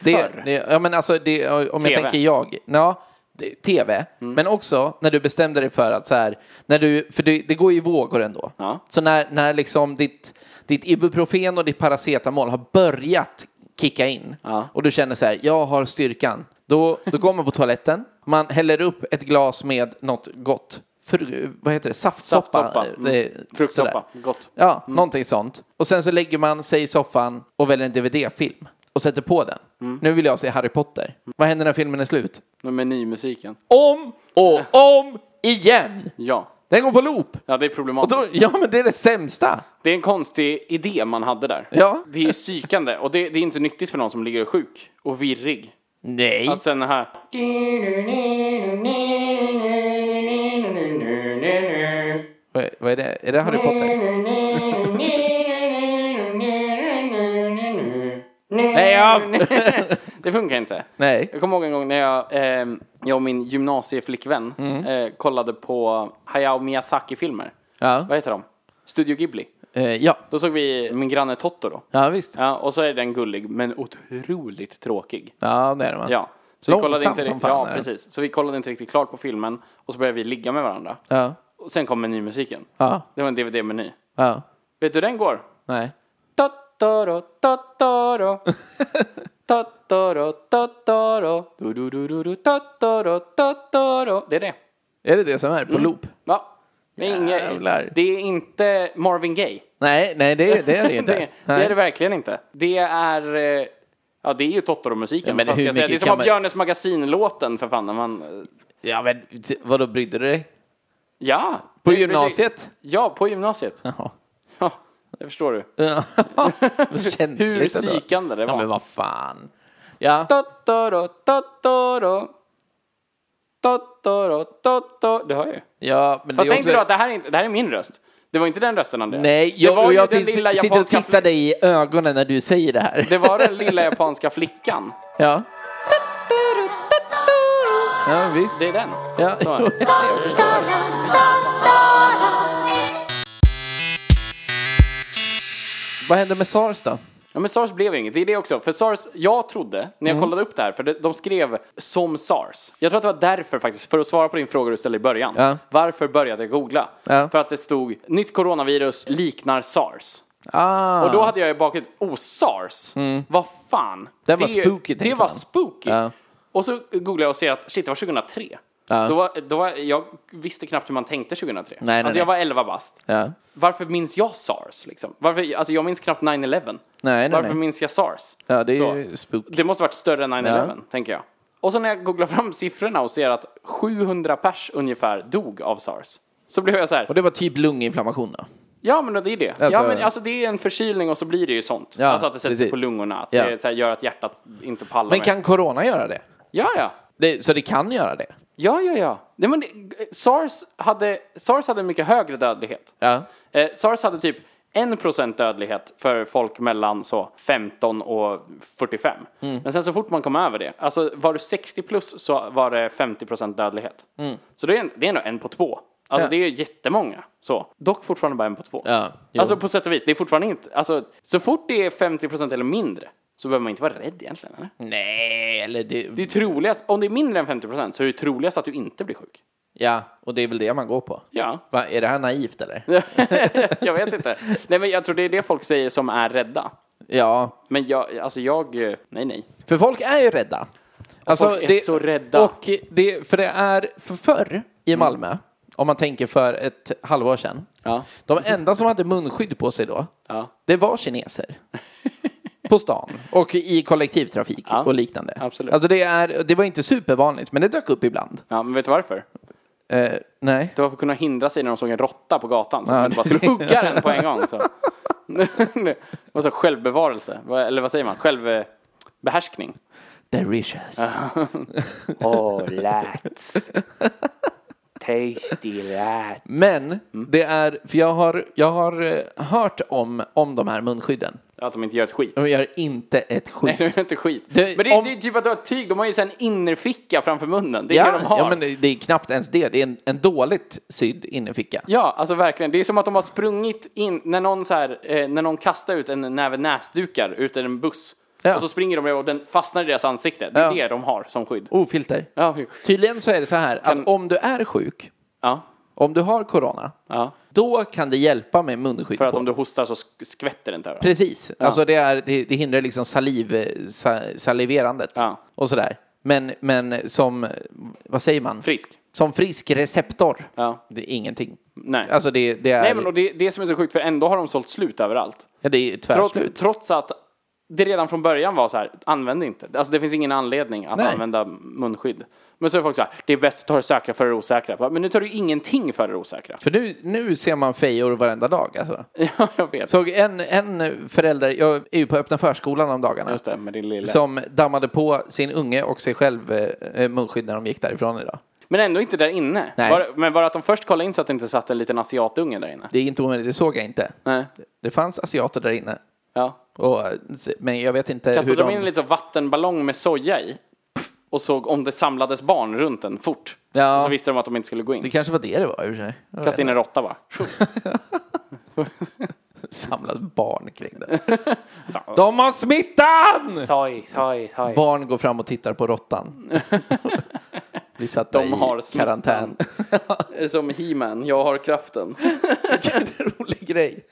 Det, Förr? Det, ja, men alltså, det, om TV. jag tänker jag. Ja, det, tv. Mm. Men också när du bestämde dig för att så här, när du, för det, det går ju i vågor ändå. Ja. Så när, när liksom ditt, ditt ibuprofen och ditt paracetamol har börjat kicka in Ja. och du känner så här, jag har styrkan. Då, då går man på toaletten, man häller upp ett glas med något gott. För, vad heter det? Saftsoppa. Saftsoppa. eh, Mm. det- Fruktsoppa, sådär. gott. Ja, någonting sånt. Och sen så lägger man sig i soffan och väljer en DVD-film. och sätter på den. Nu vill jag se Harry Potter. Vad händer när filmen är slut? Med nymusiken. Om och om igen! Ja. Den går på loop. Ja, det är Och problematiskt. då, ja, men det är det sämsta. Det är en konstig idé man hade där. Ja. Det är ju psykande och det, det är inte nyttigt för någon som ligger sjuk och virrig. Nej. Att sen den här... Vad, vad är det? Är det Harry Potter? Nej, ja. Det funkar inte. Nej. Jag kommer ihåg en gång när jag, eh, jag och min gymnasieflickvän Mm. eh, kollade på Hayao Miyazaki-filmer. Ja. Vad heter de? Studio Ghibli. Eh, ja. Då såg vi Min granne Totto då. Ja, visst. Ja, och så är den gullig, men otroligt tråkig. Ja, det är det va? Ja. Så vi kollade Långsam inte, som riktigt- fan ja, är den. precis. Så vi kollade inte riktigt klart på filmen och så började vi ligga med varandra. Ja. Och sen kom menymusiken. Ja. Det var en DVD-meny. ja. Vet du hur den går? Nej. Totoro, Totoro. Totoro, Totoro. Du-du-du-du-du, Totoro, Totoro. Det är det. Är det det som är på loop? Ja. Det är, Jävlar. inget, det är inte Marvin Gaye. Nej, nej, det, är- det är det inte. Det, är- det Nej. är det verkligen inte. Det är... eh, Ja, det är ju Totoro-musiken. men fast hur jag säga. mycket Det är som kan att man- Björnes magasin-låten för fan. När man, eh, Ja, men t- vadå, brydde du dig? ja. På Det- gymnasiet? Ja, på gymnasiet. Jaha. Ja, det förstår du. Ja. Hur Känsligt ändå. psykande det Ja, men var. vad fan. Ja. Totoro, Totoro. Totoro, Totoro. Det hör jag ju. ja men Fast det är tänk dig då också... att det här, är inte, det här är min röst. Det var inte den rösten, Andreas. Nej, Det jag, var och ju jag den titt- lilla sitter och japanska tittar dig i ögonen när du säger det här. Det var den lilla japanska flickan. Ja. Ja, visst. Det är den. Ja. Så här. Vad hände med SARS då? Ja, men SARS blev ju inget. Det är det också. För SARS, jag trodde, när jag Mm. kollade upp det här, för det- de skrev som SARS. Jag tror att det var därför faktiskt, för att svara på din fråga du ställde i början. Ja. Varför började jag googla? Ja. För att det stod, nytt coronavirus liknar SARS. Ah. Och då hade jag i bakhuvudet, oh SARS, vad fan. Mm. Den var spooky, Det tänkte var man. spooky. Ja. Och så googlade jag och ser att shit, det var 2003. Ja. Då var, då var, jag visste knappt hur man tänkte 2003. nej, alltså jag nej. var 11 bast. Ja. Varför minns jag SARS? Liksom? Varför, alltså jag minns knappt 9-11. nej, Varför nej. minns jag SARS? Ja, det är Så. ju spook. Det måste varit större än 9-11, tänker jag. Och så när jag googlar fram siffrorna och ser att 700 pers ungefär dog av SARS. Så blev jag så här, Och det var typ lunginflammation då? Ja, men det är det. Alltså- ja, men alltså det är en förkylning och så blir det ju sånt. Ja, alltså att det sätter sig precis. på lungorna, att Ja. det så här gör att hjärtat inte pallar Men mer. kan corona göra det? Ja, ja. det? Så det kan göra det? Ja, ja, ja. Nej, men det, SARS, hade, SARS hade mycket högre dödlighet. Ja. Eh, SARS hade typ 1% dödlighet för folk mellan så 15 och 45. Mm. Men sen så fort man kom över det, alltså var du 60 plus så var det 50% dödlighet. Så det är, en, det är ändå en på två. Alltså Mm. Ja. det är jättemånga. Så. Dock fortfarande bara en på två. Ja, jo. alltså på sätt och vis, det är fortfarande inte, alltså så fort det är 50% eller mindre så behöver man inte vara rädd egentligen. Eller? Nej, eller det... Det är troligast, om det är mindre än 50% så är det troligast att du inte blir sjuk. Ja, och det är väl det man går på. Ja. Va, är det här naivt eller? jag vet inte. Nej men jag tror det är det folk säger som är rädda. Ja, Men jag, alltså jag, eh, nej nej. för folk är ju rädda. Alltså, folk är så rädda. Mm. Och det, för det är, för förr i Malmö, om man tänker för ett halvår sedan, Ja. de enda som hade munskydd på sig då, Ja. det var kineser. På stan och i kollektivtrafik Ja, och liknande. absolut. Alltså det, är, det var inte supervanligt, men det dök upp ibland. Ja, men vet du varför? Eh, nej. Det var för att kunna hindra sig när de såg en råtta på gatan. Så Ja, de inte bara skulle hugga den på en gång. Så. det var så självbevarelse. Vad- Eller vad säger man? Självbehärskning. Delicious. Oh, lats. Tasty lats. Men Mm. det är, för jag har, jag har eh, hört om, om de här munskydden. Att de inte gör ett skit. De gör inte ett skit. Nej, de gör inte skit. Det- men det, är- om- det är typ att du har ett tyg. De har ju så här en innerficka framför munnen. Det är ja, det de har. ja, men det det är knappt ens det. Det är en, en dåligt sydd innerficka. Ja, alltså verkligen. Det är som att de har sprungit in, när någon, så här, eh, när någon kastar ut en näve näsdukar ut ur en buss. Ja. Och så springer de och den fastnar i deras ansikte. Det är Ja. Oh. det de har som skydd. Ofilter. Ja, Tydligen så är det så här Kan- att om du är sjuk, ja, om du har corona, ja. då kan det hjälpa med munskydd För att på. om du hostar så sk- skvätter det inte överallt. Precis. Alltså det, är, det, det hindrar liksom saliv, eh, sa, saliverandet Ja. och sådär. Men, men som, eh, vad säger man? Frisk. Som frisk receptor. Ja. Det är ingenting. Nej. Alltså det, det är, Nej, men och det, det som är så sjukt, för ändå har de sålt slut överallt. ja, det är ju Trots, tvärslut. trots att det redan från början var så här, använd inte. Alltså det finns ingen anledning att Nej. använda munskydd. Men så är folk så här, det är bäst att ta det säkra för det osäkra. Va? Men nu tar du ju ingenting för det osäkra. För nu, nu ser man fejor varenda dag alltså. ja, jag vet. Såg en, en förälder, jag är ju på öppna förskolan om dagarna. Just det, med din lilla. Som dammade på sin unge och sig själv eh, eh, munskydd när de gick därifrån idag. Men ändå inte där inne. Nej. Var, men var det att de först kollade in så att det inte satt en liten asiatunge där inne? Det är inte omöjligt, det såg jag inte. Nej. Det fanns asiater där inne. Ja. Och, eh, men jag vet inte hur Kastade de de... in en liten vattenballong med soja i? Pff, Och såg om det samlades barn runt den fort. Ja. Och så visste de att de inte skulle gå Det in. kanske var det det var i och för sig. Jag vet Kastade in en råtta bara. inte. Samlade barn kring det. de har smittan! Taj, taj, taj. Barn går fram och tittar på råttan. Vi satt De i har smittan. karantän. Som He-Man, jag har kraften. Vilken rolig grej.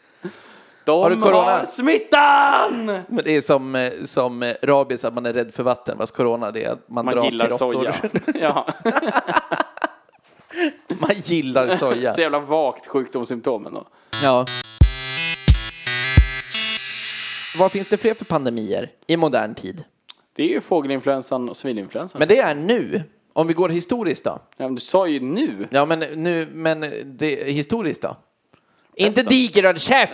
De har, du corona? smittan! Men det är som, eh, som eh, rabies, att man är rädd för vatten. Fast corona det är att man, Man dras gillar till råttor. soja. ja. man gillar soja. Så jävla vagt sjukdomssymptom ändå. Ja. Vad finns det fler för pandemier i modern tid? Det är ju fågelinfluensan och svininfluensan. Men det är nu. Om vi går historiskt då? Ja, men du sa ju nu. Ja, men nu, men det, historiskt då? Inte digerdöd, käft!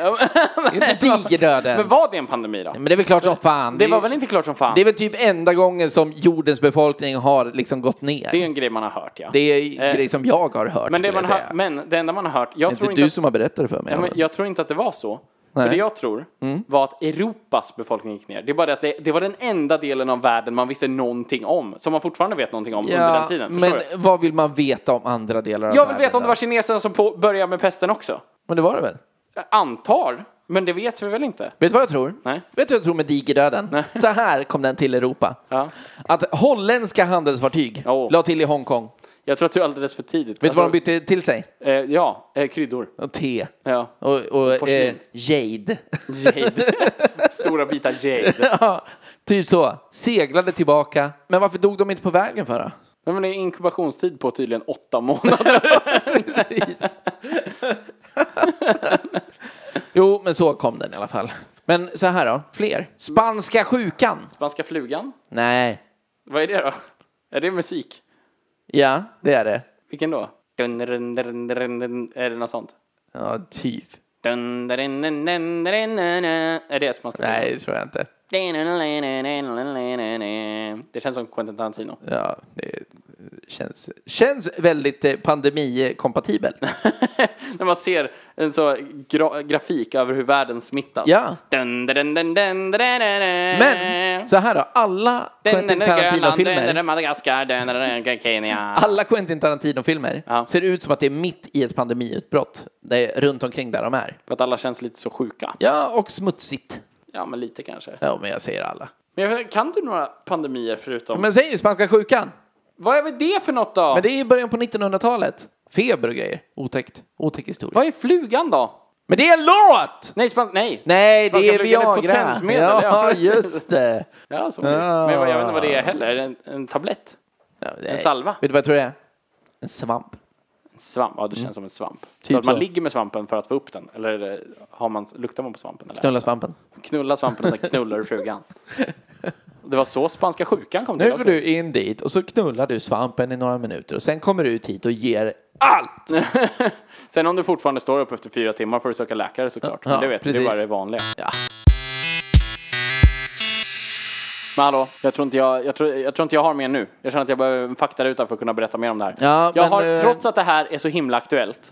inte digerdöden! Men Men, var det en pandemi då? men det är väl klart som fan. Det är- var väl inte klart som fan? det är Det, väl typ enda gången som jordens befolkning har liksom gått ner. är en grej man har hört ja. Det är Eh, grej som jag har hört, men, det man skulle jag säga. har, men det enda man har hört, jag det är tror inte du inte, att, som har berättat det för mig. ja, men jag tror inte att det var så. Nej. Mm. För det jag tror var att Europas befolkning gick ner. Det är bara det att det, det var den enda delen av världen man visste någonting om. Som man fortfarande vet någonting om under den tiden. Förstår men du? vad vill man veta om andra delar av Jag vill världen veta om det då? var kineserna som på, började med pesten också. Men det var det väl? Jag antar, men det vet vi väl inte? Vet du vad jag tror? Nej. Vet du vad jag tror med digerdöden? Så här kom den till Europa. Ja. Att holländska handelsfartyg Oh. la till i Hongkong. Vet Jag tror att du är alldeles för tidigt. du vad de bytte till sig? bytte? Eh, ja, eh, kryddor. Och te. Ja. Och, och eh, Porslin. jade. Jade. Stora bitar jade. Ja, typ så. Seglade tillbaka. Men varför dog de inte på vägen för då? Nej, Men det är inkubationstid på tydligen åtta månader. Precis. jo, men så kom den i alla fall. Men så här då, fler. Spanska sjukan. Spanska flugan? Nej. Vad är det då? Är det musik? Ja, det är det. Vilken då? Dun, dun, dun, dun, dun. Är det något sånt? Ja, typ. Dun, dun, dun, dun, dun, dun, dun. Är det spanska Nej, det tror jag inte. flugan? Det känns som Quentin Tarantino. Ja, det känns, känns väldigt eh, pandemikompatibel. När man ser en så gra grafik över hur världen smittas. Ja. Dun, dun, dun, dun, dun, dun, dun, dun. Eh. Men så här då, alla Dun, dun, dun, Quentin Grönland, dun, dun, Tarantino-filmer Madagaskar, dun, dun, dun, Kenya. alla Quentin Tarantino-filmer Ja. ser ut som att det är mitt i ett pandemiutbrott. Det är runt omkring där de är. För att alla känns lite så sjuka. Ja, och smutsigt. Ja, men lite kanske. Ja, men jag säger alla. Men jag- kan du några pandemier förutom... Men säg ju spanska sjukan. Vad är väl det för något då? Men det är i början på 1900-talet. Feber och grejer. Otäckt. Otäck historia. Vad är flugan då? Men det är en låt! Nej, spans... Nej. Nej, det Spanska är flugan är ett Viagra. potensmedel, Ja, ja. just det. Ja, så blir det. Men jag, jag vet inte vad det är heller. Är det en, en tablett? Ja, det är- En salva? Vet du vad jag tror det är? En svamp. En svamp? Ja, det känns som en svamp. Typ så att man så. ligger med svampen för att få upp den? Eller är det- har man, luktar man på svampen? Eller? Knulla svampen. Knulla svampen och sen knullar du frugan. Det var så spanska sjukan kom till. Nu går också. du in dit och så knullar du svampen i några minuter och sen kommer du ut hit och ger allt! Sen om du fortfarande står upp efter fyra timmar får du söka läkare såklart. Ja, Men det vet du, det är precis. bara det vanliga. Ja. Men hallå, jag tror, inte jag, jag, tror, jag tror inte jag har mer nu. Jag känner att jag behöver en faktaruta för att kunna berätta mer om det här. Ja, jag men, har, eh, Mm. trots att det här är så himla aktuellt,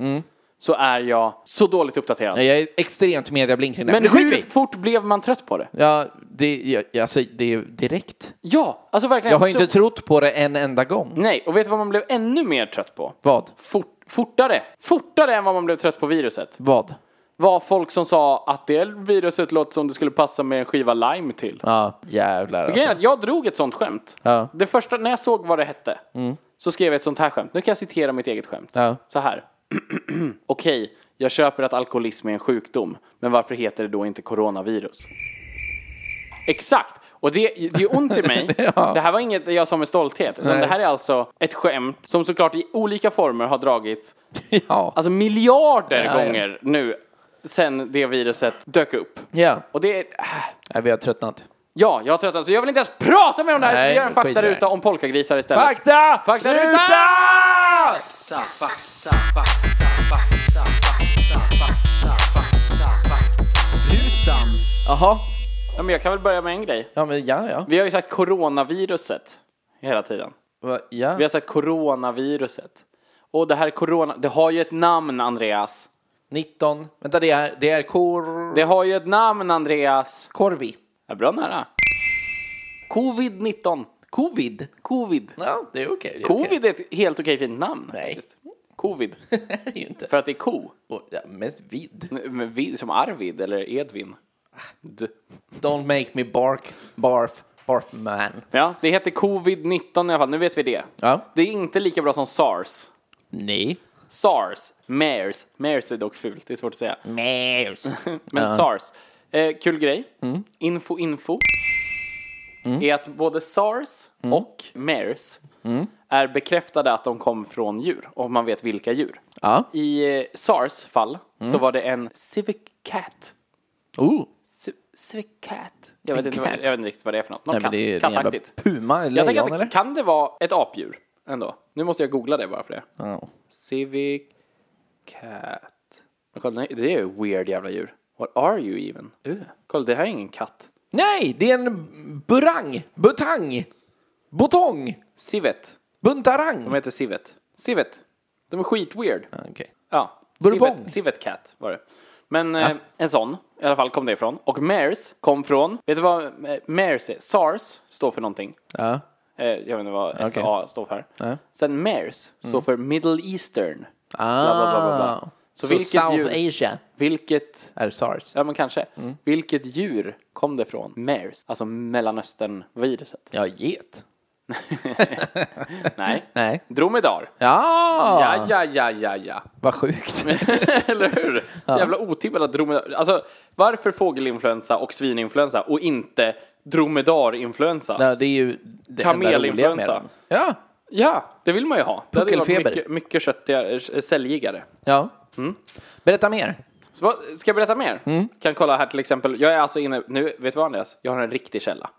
så är jag så dåligt uppdaterad. Jag är extremt mediablink kring det här, Men men skit hur vi! fort blev man trött på det? Ja, det, jag, alltså, det är ju direkt. Ja, alltså verkligen. Jag har så- inte trott på det en enda gång. Nej, och vet du vad man blev ännu mer trött på? Vad? Fort, fortare! Fortare än vad man blev trött på viruset. Vad? Var folk som sa att det viruset låter som det skulle passa med en skiva lime till. Ja, jävlar Grejen är alltså. att jag drog ett sånt skämt. Ja. Mm. Det första, när jag såg vad det hette, så skrev jag ett sånt här skämt. Nu kan jag citera mitt eget skämt. Ja. Så här. Okej, jag köper att alkoholism är en sjukdom, men varför heter det då inte coronavirus? Exakt! Och det, det är ont i mig. Det här var inget jag sa med stolthet, utan det här är alltså ett skämt som såklart i olika former har dragits Ja. alltså miljarder Ja, ja. gånger nu sen det viruset dök upp. Alltså- ja. Och det är... Nej, vi har tröttnat. Ja, jag har tröttnat så jag vill inte ens prata mer om det här så Nej, vi gör en skit i det. faktaruta om polkagrisar istället. Fakta! Faktaruta! Jaha. Ja, men jag kan väl börja med en grej. Ja, men ja, ja. Vi har ju sagt coronaviruset hela tiden. Va, ja. Vi har sagt coronaviruset. Och det här corona, det har ju ett namn Andreas. 19. Vänta, det är, det är kor... Det har ju ett namn Andreas. Korvi. Ja, bra nära. Covid-19. Covid. Covid. Ja, det är okej. det är okej. Covid är ett helt okej fint namn. Nej. faktiskt. Covid. Det är ju inte. För att det är ko. Och, ja, mest vid. Men vi- Som Arvid eller Edvin. D. Don't make me bark. Barf. Barf man. Ja, det heter covid-19 i alla fall. Nu vet vi det. Ja. Det är inte lika bra som sars. Nej. Sars. Mers. Mers är dock fult, det är svårt att säga. Mers. Men sars. Eh, kul grej. Info, info. Är att både sars och mers är bekräftade att de kom från djur. Om man vet vilka djur. Ja. I eh, sars fall så var det en civic cat. Oh. Ci- Civic cat. Jag vet, En inte vad, jag cat? vet inte riktigt vad det är för något. Någon Nej, men katt. det är en jävla Kattaktigt. puma eller Jag tänker lejon att det, eller? kan det vara ett apdjur ändå? Nu måste jag googla det bara för det. Ja. Civic cat. Men Kolla, nej, det är ju weird jävla djur. What are you even? Uh. Kolla, det här är ingen katt. Nej, det är en burang. Butang. Botong. Civet. Buntarang. De heter Civet. Civet. De är skitweird. Okej. Ja. Bourbon. Civet, Civet cat var det. Men eh, en sån i alla fall kom det ifrån. Och MERS kom från, vet du vad eh, MERS är? SARS står för någonting. Ja. Eh, jag vet inte vad SA står för. Sen MERS står för Middle Eastern. Mm. Ah. Bla, bla, bla, bla, bla. Så, Så vilket South djur, Asia vilket, är sars. ja men kanske, Mm. vilket djur kom det från? MERS, alltså Mellanöstern-viruset. Ja, get. Nej, Nej. Ah. dromedar. Ja! Ja, ja, ja, ja, ja. Vad sjukt. Eller hur? Jävla otippat att dromedar... Alltså, varför fågelinfluensa och svininfluensa och inte dromedarinfluensa? Ja, det är ju det Kamelinfluensa. enda roliga med dem. Ja. Ja, det vill man ju ha. Det hade ju varit Puckelfeber. mycket, mycket köttigare, eh, säljigare. ja. Mm. Berätta mer. Så vad, ska jag berätta mer? Mm. Kan kolla här till exempel. Jag är alltså inne, nu, vet du vad Andreas? Jag har en riktig källa.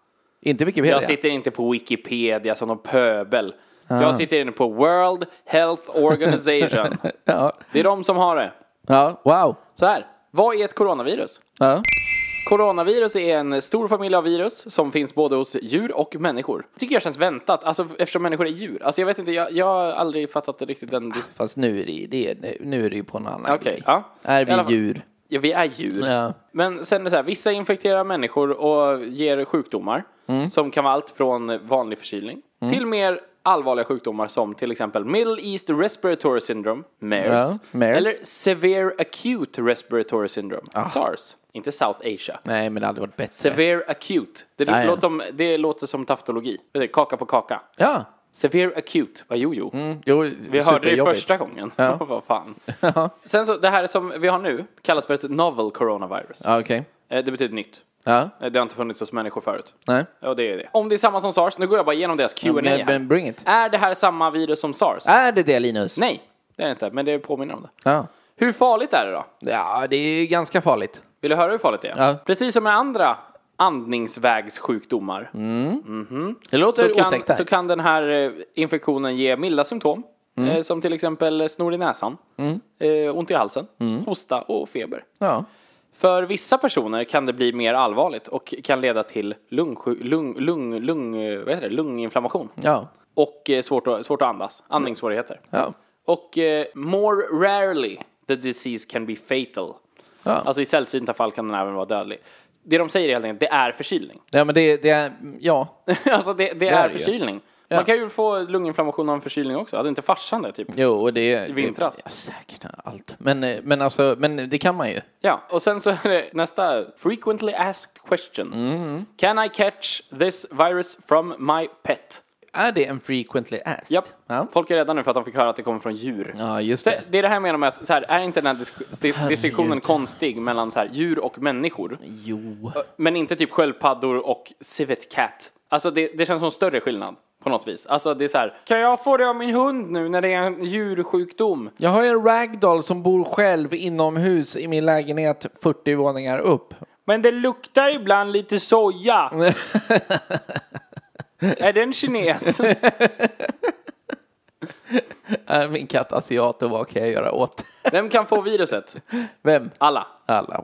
Inte Wikipedia. Jag sitter inte på Wikipedia som någon pöbel. Jag sitter inne på World Health Organization. Ja. det är de som har det. ja. Wow. Så här, vad är ett coronavirus? Ja. Coronavirus är en stor familj av virus som finns både hos djur och människor. Tycker jag känns väntat, alltså eftersom människor är djur. Alltså jag vet inte, jag, jag har aldrig fattat riktigt den... dis- Fast nu är det, det är, nu är det ju på en annan Okej, grej. ja. Är I alla vi fall- djur? Ja, vi är djur. Ja. Men sen är det så här, vissa infekterar människor och ger sjukdomar Mm. som kan vara allt från vanlig förkylning till mer allvarliga sjukdomar som till exempel Middle East Respiratory Syndrome, MERS, Ja, MERS. Ah. eller Severe Acute Respiratory Syndrome, SARS, inte South Asia. Nej, men det har aldrig varit bättre. Severe Acute, det, Ja, ja. Låter som, det låter som taftologi, Vet du, kaka på kaka. Ja. Severe Acute, vad jo jo. Mm. Jo, Vi hörde det första gången. Vad fan. Sen så, det här som vi har nu kallas för ett novel coronavirus. Ja, okej. Eh, Det betyder nytt. Ja. Eh, Det har inte funnits hos människor förut. Nej. Ja, det är det. Om det är samma som sars, nu går jag bara igenom deras Q&A Men, här. men Äh. bring it. Är det här samma virus som sars? Är det det, Linus? Nej, det är det inte, men det påminner om det. Ja. Hur farligt är det då? ja, det är ju ganska farligt. Vill du höra hur farligt det är? Ja. Precis som med andra andningsvägssjukdomar Det låter så, kan, otäckt här. så kan den här eh, infektionen ge milda symptom. Mm. eh, Som till exempel snor i näsan, eh, ont i halsen, Mm. hosta och feber. Ja. För vissa personer kan det bli mer allvarligt och kan leda till lungsju- lung, lung, lung, eh, vad heter det? lunginflammation. Ja. Och eh, svårt att, svårt att andas, andningssvårigheter. Ja. Och eh, more rarely the disease can be fatal. Ja. Alltså i sällsynta fall kan den även vara dödlig. Det de säger helt enkelt, det är förkylning. ja, men det, det är... Ja. alltså det, det, är, är det ju. förkylning. Man kan ju få lunginflammation av en förkylning också. Hade inte farsan det typ? Jo, och det... I vintras. Ja, säkert allt. Men, eh, men alltså, men det kan man ju. Ja, och sen så är det nästa. Frequently asked question. Mm. Can I catch this virus from my pet? Är det en frequently asked? Japp. Ja, Folk är rädda nu för att de fick höra att det kommer från djur. ja just Så det. det är det här jag menar med att, så här, är inte den här dis- sti- distinktionen konstig mellan så här, djur och människor? Jo. Men inte typ sköldpaddor och civet cat. Alltså det, det känns som en större skillnad på något vis. Alltså det är så här, kan jag få det av min hund nu när det är en djursjukdom? Jag har ju en ragdoll som bor själv inomhus i min lägenhet 40 våningar upp. Men det luktar ibland lite soja. är det en kines? Är min katt asiat och vad kan jag göra åt Vem kan få viruset? Vem? Alla. Alla.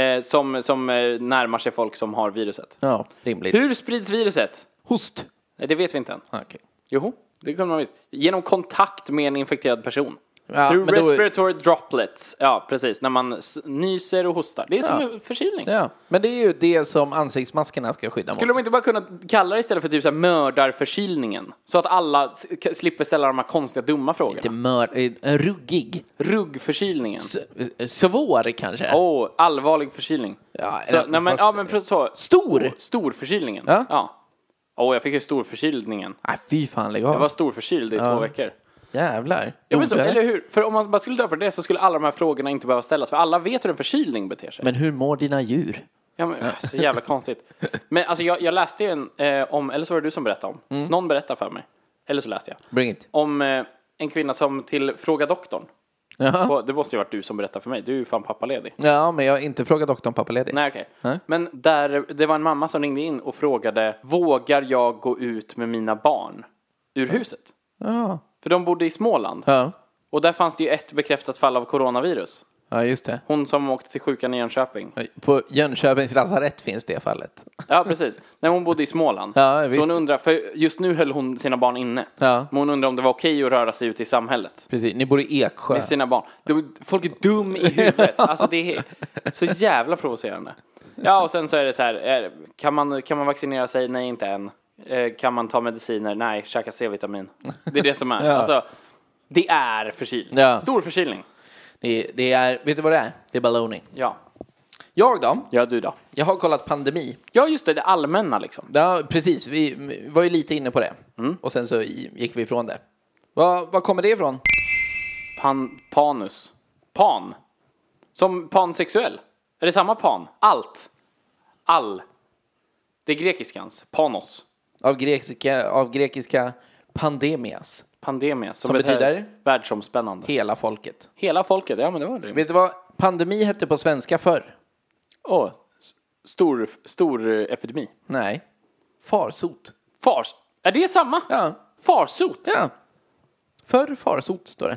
Eh, som som eh, närmar sig folk som har viruset. Ja, rimligt. Hur sprids viruset? Host. Eh, Det vet vi inte än. Okej. Joho, det kunde man visst. Genom kontakt med en infekterad person. Ja, Through men då- respiratory droplets. Ja, precis. När man s- nyser och hostar. Det är som förkylning. Ja, men det är ju det som ansiktsmaskerna ska skydda Skulle mot. de inte bara kunna kalla det istället för typ så här mördarförkylningen? Så att alla s- k- slipper ställa de här konstiga dumma Lite frågorna. mör... eh, Ruggig. Ruggförkylningen. S- eh, Svår kanske. Åh, allvarlig förkylning. Ja, så, ja, nej, men, fast- ja men precis så. Stor! Storförkylningen. Ja. Ja. Åh, jag fick ju storförkylningen. Nej, fy fan lägg Jag var av. storförkyld i två veckor. Jävlar. Ja, men så, Jobbigare. eller hur? För om man bara skulle döpa det så skulle alla de här frågorna inte behöva ställas. För alla vet hur en förkylning beter sig. Men hur mår dina djur? Ja, men, så jävla konstigt. Men alltså, jag, jag läste ju en eh, om, eller så var det du som berättade om. Mm. Någon berättade för mig. Eller så läste jag. Bring it. Om eh, en kvinna som till Fråga doktorn. Jaha. Och Det måste ju varit du som berättade för mig. Du är ju fan pappaledig. Ja, men jag har inte frågat doktorn pappaledig. Nej, okej. Men där, det var en mamma som ringde in och frågade Vågar jag gå ut med mina barn ur huset? Ja. För de bodde i Småland. Ja. Och där fanns det ju ett bekräftat fall av coronavirus. ja, just det. Hon som åkte till sjukan i Jönköping. På Jönköpings lasarett finns det fallet. Ja, precis. När hon bodde i Småland. Ja, så visst. hon undrar, för just nu höll hon sina barn inne. Ja. Men hon undrar om det var okej att röra sig ut i samhället. Precis, ni bor i Eksjö. Med sina barn. De, folk är dum i huvudet. Alltså det är så jävla provocerande. Ja, och sen så är det så här. Är, kan, man, kan man vaccinera sig? Nej, inte än. Eh, kan man ta mediciner? Nej, käka C-vitamin. Det är det som är. Ja. Alltså, det är förkylning. Ja. Stor förkylning. Det, det är, vet du vad det är? Det är baloney. Ja. Jag då? Ja, du då? Jag har kollat pandemi. Ja, just det. Det allmänna liksom. Ja, precis. Vi vi var ju lite inne på det. Och sen så i- gick vi ifrån det. Vad vad kommer det ifrån? Pan, panus. Pan. Som pansexuell. Är det samma pan? Allt. All. Det är grekiskans. Panos. Av grekiska, av grekiska pandemias. Pandemia. Som, Som betyder? Världsomspännande. Hela folket. Hela folket, ja men det var det. Vet du vad pandemi hette på svenska förr? Åh, s- stor, stor eh, epidemi. Nej. Farsot. Fars... Är det samma? Ja. Farsot? Ja. Förr farsot, står det.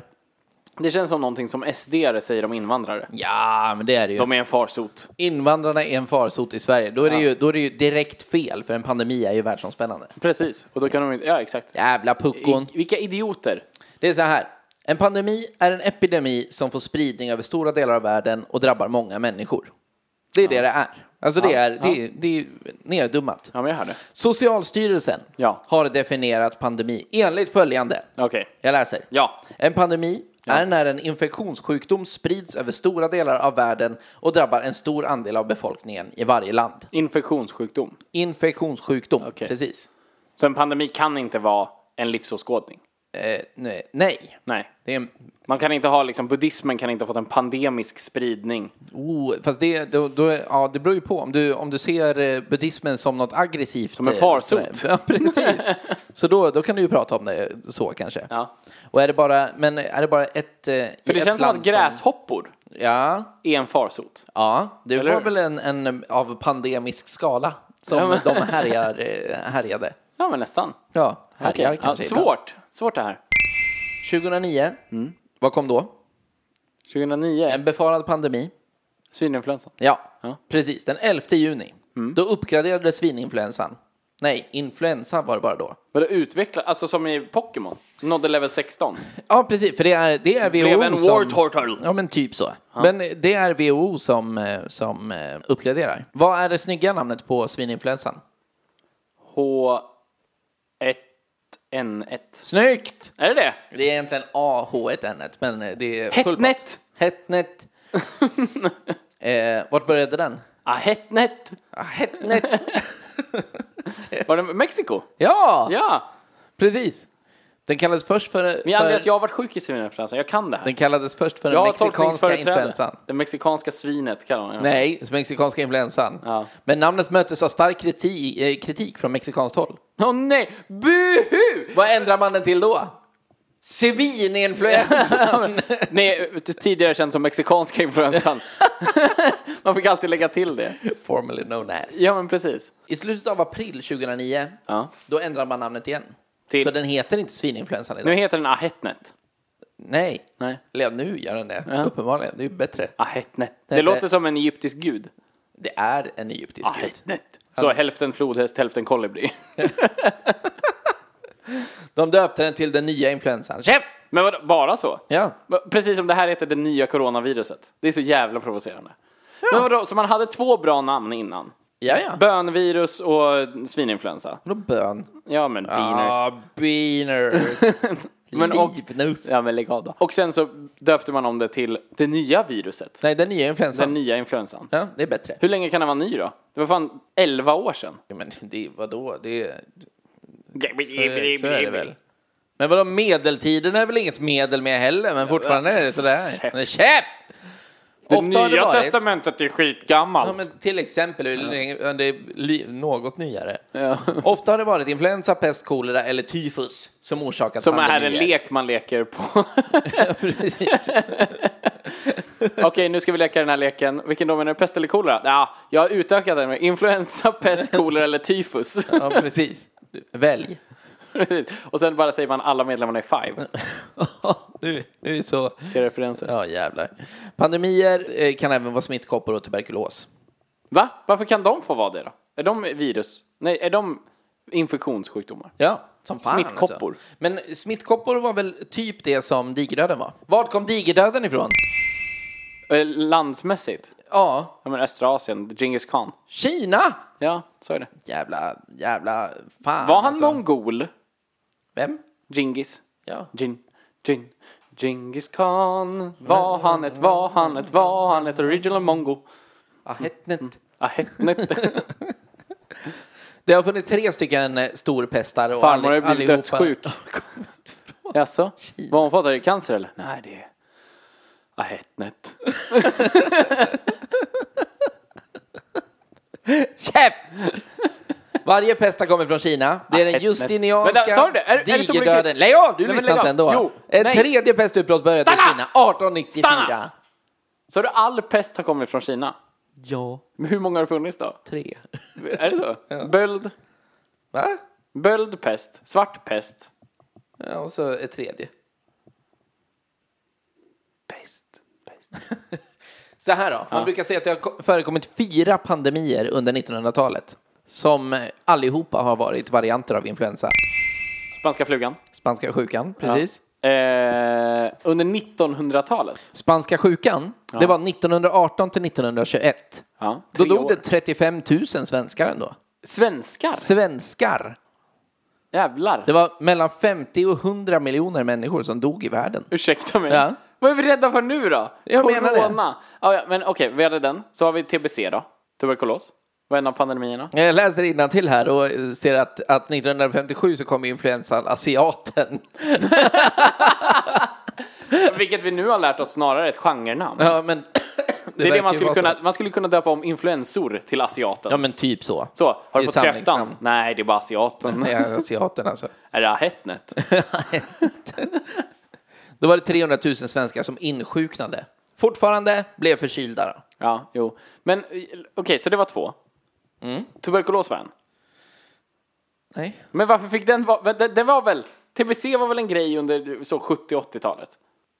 Det känns som någonting som SD-are säger om invandrare. Ja, men det är det ju. De är en farsot. Invandrarna är en farsot i Sverige. Då är, det ju, då är det ju direkt fel, för en pandemi är ju världsomspännande. Precis, och då kan de inte... Ja, exakt. Jävla puckon. I, vilka idioter. Det är så här. En pandemi är en epidemi som får spridning över stora delar av världen och drabbar många människor. Det är det det är. Alltså det är, det är, det är neddummat. Ja, men jag hör det. Socialstyrelsen Ja. har definierat pandemi enligt följande. Okej. Jag läser. Ja. En pandemi är när en infektionssjukdom sprids över stora delar av världen och drabbar en stor andel av befolkningen i varje land. Infektionssjukdom. Infektionssjukdom, Okej. precis. Så en pandemi kan inte vara en livsåskådning. Eh, nej. nej. Nej. Det är en, Man kan inte ha liksom, buddhismen kan inte ha fått en pandemisk spridning. oh, fast det, då, då, är- ja, det beror ju på. Om du, om du ser eh, buddhismen som något aggressivt. Som en eh, farsot. så- Ja, precis. så då, då kan du ju prata om det så kanske. Ja. Och är det bara, men är det bara ett... För det känns som att gräshoppor Ja, är en farsot. Ja, det Eller var hur? väl en, en av pandemisk skala som Ja, men- de härjar, eh, härjade. Ja, men nästan. Ja, härjar Okej. Ja, kanske. ibland. svårt. Mm. Svårt det här. 2009, vad kom då? 2009, En befarad pandemi. svininfluensan. Ja, Mm. Ja. precis. Den 11 juni. Då uppgraderades svininfluensan. Nej, influensa var det bara då. Vadå utveckla? Alltså som i Pokémon? Nådde level 16? Ja, precis. För det är, det är WHO Blev en som... War Turtle? Ja, men typ så. Men det är WHO som, eh, som eh, uppgraderar. Vad är det snygga namnet på svininfluensan? H1N1. Snyggt! Är det det? Det är egentligen AH1N1, men eh, det är full pott. Hetnet! Hetnet. eh, vart började den? Ah, Hetnet! Ah, Hetnet. Var det Mexiko? ja, Ja! precis. Den kallades först för, Men Andreas, för, jag har varit sjuk i svininfluensan. Jag kan det här. den kallades först för Jag den har mexikanska tolkningsföreträde. influensan. Det mexikanska svinet kallar man det. Nej, mexikanska influensan. Ja. Men namnet möttes av stark kritik, eh, kritik från mexikanskt håll. Åh nej! Buhu! Vad ändrar man den till då? Svininfluensan! Nej, t- tidigare känd som mexikanska influensan. Man fick alltid lägga till det. Formerly known as. Ja, men precis. I slutet av april 2009, Ja. då ändrar man namnet igen. Till- Så den heter inte svininfluensan idag. Nu heter den Ahetnet. Nej. Nej. Eller ja, nu gör den det. Uppenbarligen. Det är ju bättre. Ahetnet. Det, Det- låter som en egyptisk gud. Det är en egyptisk gud. Ahetnet. Så hälften flodhäst, hälften kolibri. De döpte den till den nya influensan. Chef! Men vadå, bara så? Ja. Va- Precis som det här heter det nya coronaviruset. Det är så jävla provocerande. Men vadå, så man hade två bra namn innan? Ja, ja. Bönvirus och svininfluensa. Vadå bön? Ja men beaners. Ah, beaners. men, och, Livnos. ja, men lägg av då. Och sen så döpte man om det till det nya viruset. Nej, den nya influensan. Den nya influensan. Ja, det är bättre. Hur länge kan den vara ny då? Det var fan 11 år sedan. Men det, vadå? Det, så är det väl. Men vadå, medeltiden är väl inget medel med heller, men fortfarande är det sådär. Men käpp! Det Ofta har det nya varit- testamentet är Ja, skitgammalt. men till exempel, hur länge- det är li- något nyare. Ofta har det varit influensa, pest, kolera eller tyfus som orsakat som är en pandemier. lek man leker på. Precis. Okej, nu ska vi leka den här leken. Vilken då menar du? Pest eller kolera? Ja, jag har utökat den med influensa, pest, kolera eller tyfus. Ja, precis. Välj. och sen bara säger man alla medlemmarna i Five. Du, du är så... Vilka referenser. Ja, jävlar. Pandemier eh, kan även vara smittkoppor och tuberkulos. Va? Varför kan de få vara det då? Är de virus? Nej, är de infektionssjukdomar? Ja, som fan Smittkoppor. Alltså. Men smittkoppor var väl typ det som digerdöden var? Vart kom digerdöden ifrån? Eh, Landsmässigt? Ja, Ja, men östra Asien, Genghis khan. Kina! Ja, så är det. Jävla, jävla fan. Var han alltså. mongol? Vem? Genghis? Ja. Gin, gin, Genghis khan. Var han ett, var han ett, var han ett original mongo? Ah, Ahetnet. Ahetnet. Det har funnits tre stycken eh, storpestar. och Farmor har alli- ju blivit allihopa- dödssjuk. Jaså? Vad har hon fått? Är det cancer eller? Nej, det är Ahetnet. Käpp! Varje pesta kommer från Kina. Det är den Ahetnet. justinianska Vänta, eh, sa du det? Är- är det så mycket- digerdöden. Lägg av! Du Nej, men lyssnar lägg inte av. ändå. Jo, en nej. tredje pestutbrott började i Stanna! Kina 1894. Stanna! Så har du all pest har kommit från Kina? Ja, Men Hur många har det funnits då? tre. Är det så? Böld, Va? böldpest, svartpest. Ja, och så ett tredje. Pest. Så här då, man brukar säga att det har ko- förekommit fyra pandemier under 1900-talet. Som eh, allihopa har varit varianter av influensa. Spanska flugan. Spanska sjukan, precis. Eh, under 1900-talet. Spanska sjukan, det var 1918 till 1921. Ja, Då tre dog år. det 35 000 svenskar ändå. Svenskar? Svenskar! Jävlar. Det var mellan 50 och 100 miljoner människor som dog i världen. Ursäkta mig. Ja. Vad är vi rädda för nu då? Jag menar det. Ja, ja, men okej, vi hade den. Så har vi TBC då. Tuberkulos. Vad är en av pandemierna? Jag läser till här och ser att, att 1957 så kom influensan asiaten. Vilket vi nu har lärt oss snarare är ett genrenamn. Ja, men det, det är verkar det man ju skulle vara så. kunna, man skulle kunna döpa om influensor till asiaten. Ja, men typ så. så, har Det du är fått kräftan? samlingsnamn. Nej, det är bara asiaten. Det är asiaten alltså. Är det ahetnet? Då var det 300 000 svenskar som insjuknade. Fortfarande blev förkylda. Då. Ja, jo. Men eh, okej, så det var två. Mm. Tuberkulos var en. Nej. Men varför fick den vara... Den, den var väl... TBC var väl en grej under så 70-80-talet?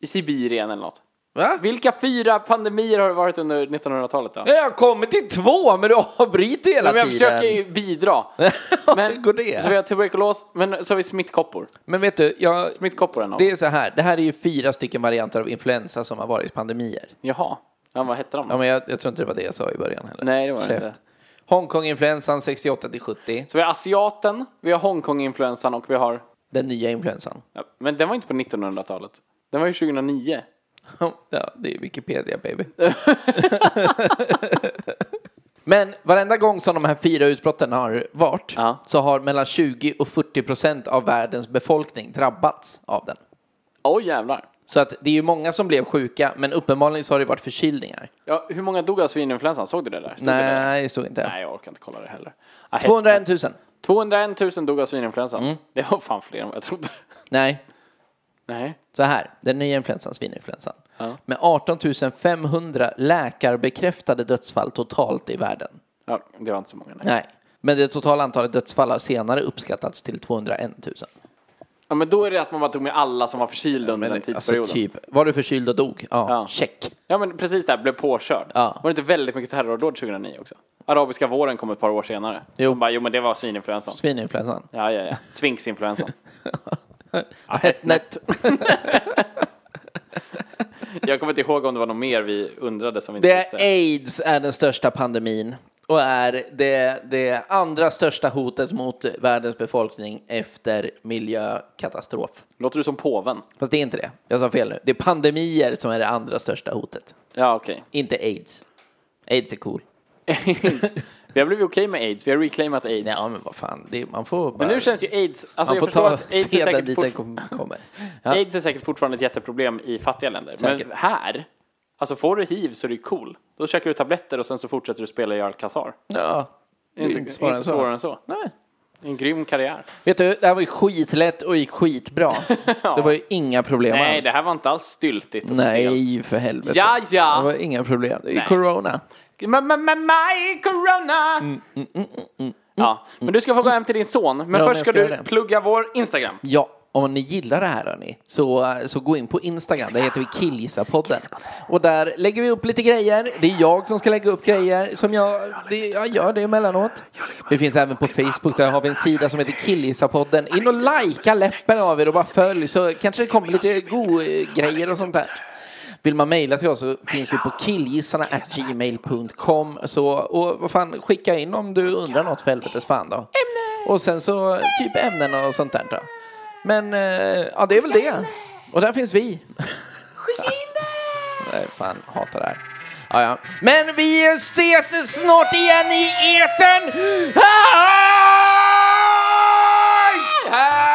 I Sibirien eller något. Va? Vilka fyra pandemier har det varit under 1900-talet då? Jag har kommit till två, men du avbryter hela Men jag tiden. försöker ju bidra. Men, Men, Hur går det? Så vi har tuberkulos, men så har vi smittkoppor. Men vet du, jag, Smittkoppor är en av det dem. är så här. Det här är ju fyra stycken varianter av influensa som har varit pandemier. Jaha. Ja, vad hette de? Ja, men jag, jag tror inte det var det jag sa i början heller. Nej, det var det Käft. inte. Hongkonginfluensan 68 till 70. Så vi har asiaten, vi har Hongkong-influensan och vi har... Den nya influensan. Ja, men den var inte på 1900-talet. Den var ju 2009. Ja, det är Wikipedia baby. Men varenda gång som de här fyra utbrotten har varit Ja. så har mellan 20 och 40 procent av världens befolkning drabbats av den. Oj jävlar. Så att det är ju många som blev sjuka, men uppenbarligen så har det varit förkylningar. Ja, hur många dog av svininfluensan? Såg du det där? Stod Det där? Nej, det stod inte. Nej, jag orkar inte kolla det heller. Ah, he- 201 000. Mm. 201 000 dog av svininfluensan. Det var fan fler än vad jag trodde. Nej. Nej. Så här, den nya influensan, svininfluensan. Ja. Med 18 500 läkarbekräftade dödsfall totalt i världen. Ja, det var inte så många. Nej. Nej. Men det totala antalet dödsfall har senare uppskattats till 201 000. Ja, men då är det att man bara tog med alla som var förkylda under den tidsperioden. Alltså typ, var du förkyld och dog? Ja, Ja. check. Ja, men precis där, blev påkörd. Ja. Var det inte väldigt mycket terrordåd 2009 också? Arabiska våren kom ett par år senare. Jo. De Bara, jo, men det var svininfluensan. Svininfluensan. Ja, ja, ja. Svinksinfluensan. Net. Jag kommer inte ihåg om det var något mer vi undrade som vi inte Det visste. är aids är den största pandemin och är det, det andra största hotet mot världens befolkning efter miljökatastrof. Låter du som påven? Fast det är inte det. Jag sa fel nu. Det är pandemier som är det andra största hotet. Ja, okej. Inte aids. Aids är cool. Aids. Vi har blivit okej med aids, vi har reclaimat aids. Ja men vad fan, det, man får bara... men nu känns ju aids, alltså man jag får förstår ta att aids är, seden säkert dit den kom- fortfar- kommer. Ja. aids är säkert fortfarande ett jätteproblem i fattiga länder. Säkert. Men här, alltså får du hiv så är det ju cool. Då käkar du tabletter och sen så fortsätter du spela i Alcazar. Ja, det är Inte, inte svårare än svårare så. än så. Nej. En grym karriär. Vet du, det här var ju skitlätt och gick skitbra. Det var ju inga problem Nej, alls. det här var inte alls styltigt och stelt. Nej, för helvete. Ja, ja. Det var inga problem. Det är ju Nej. corona. Ma- ma- ma- My corona! Mm, Ja, men du ska få gå hem till din son. Men jag först ska ska du göra det. plugga vår Instagram. Ja, om ni gillar det här hörni, så, så gå in på Instagram. Där heter vi Killgissarpodden. Och där lägger vi upp lite grejer. Det är jag som ska lägga upp grejer. Som jag, det, jag gör det emellanåt. Vi finns även på Facebook. Där har vi en sida som heter Killgissarpodden. In och likea läppen av er och bara följ. Så kanske det kommer lite go grejer och sånt där. Vill man mejla till oss så finns vi på killgissarna.gmail.com. Så, och vad fan, skicka in om du undrar något för helvetes fan då. Och sen så typ ämnen och sånt där då. Men eh, ja, det är väl det. Och där finns vi. Skicka in det! Fan, hatar det här. Ja, ja. Men vi ses snart igen i etern! Hej! Hej!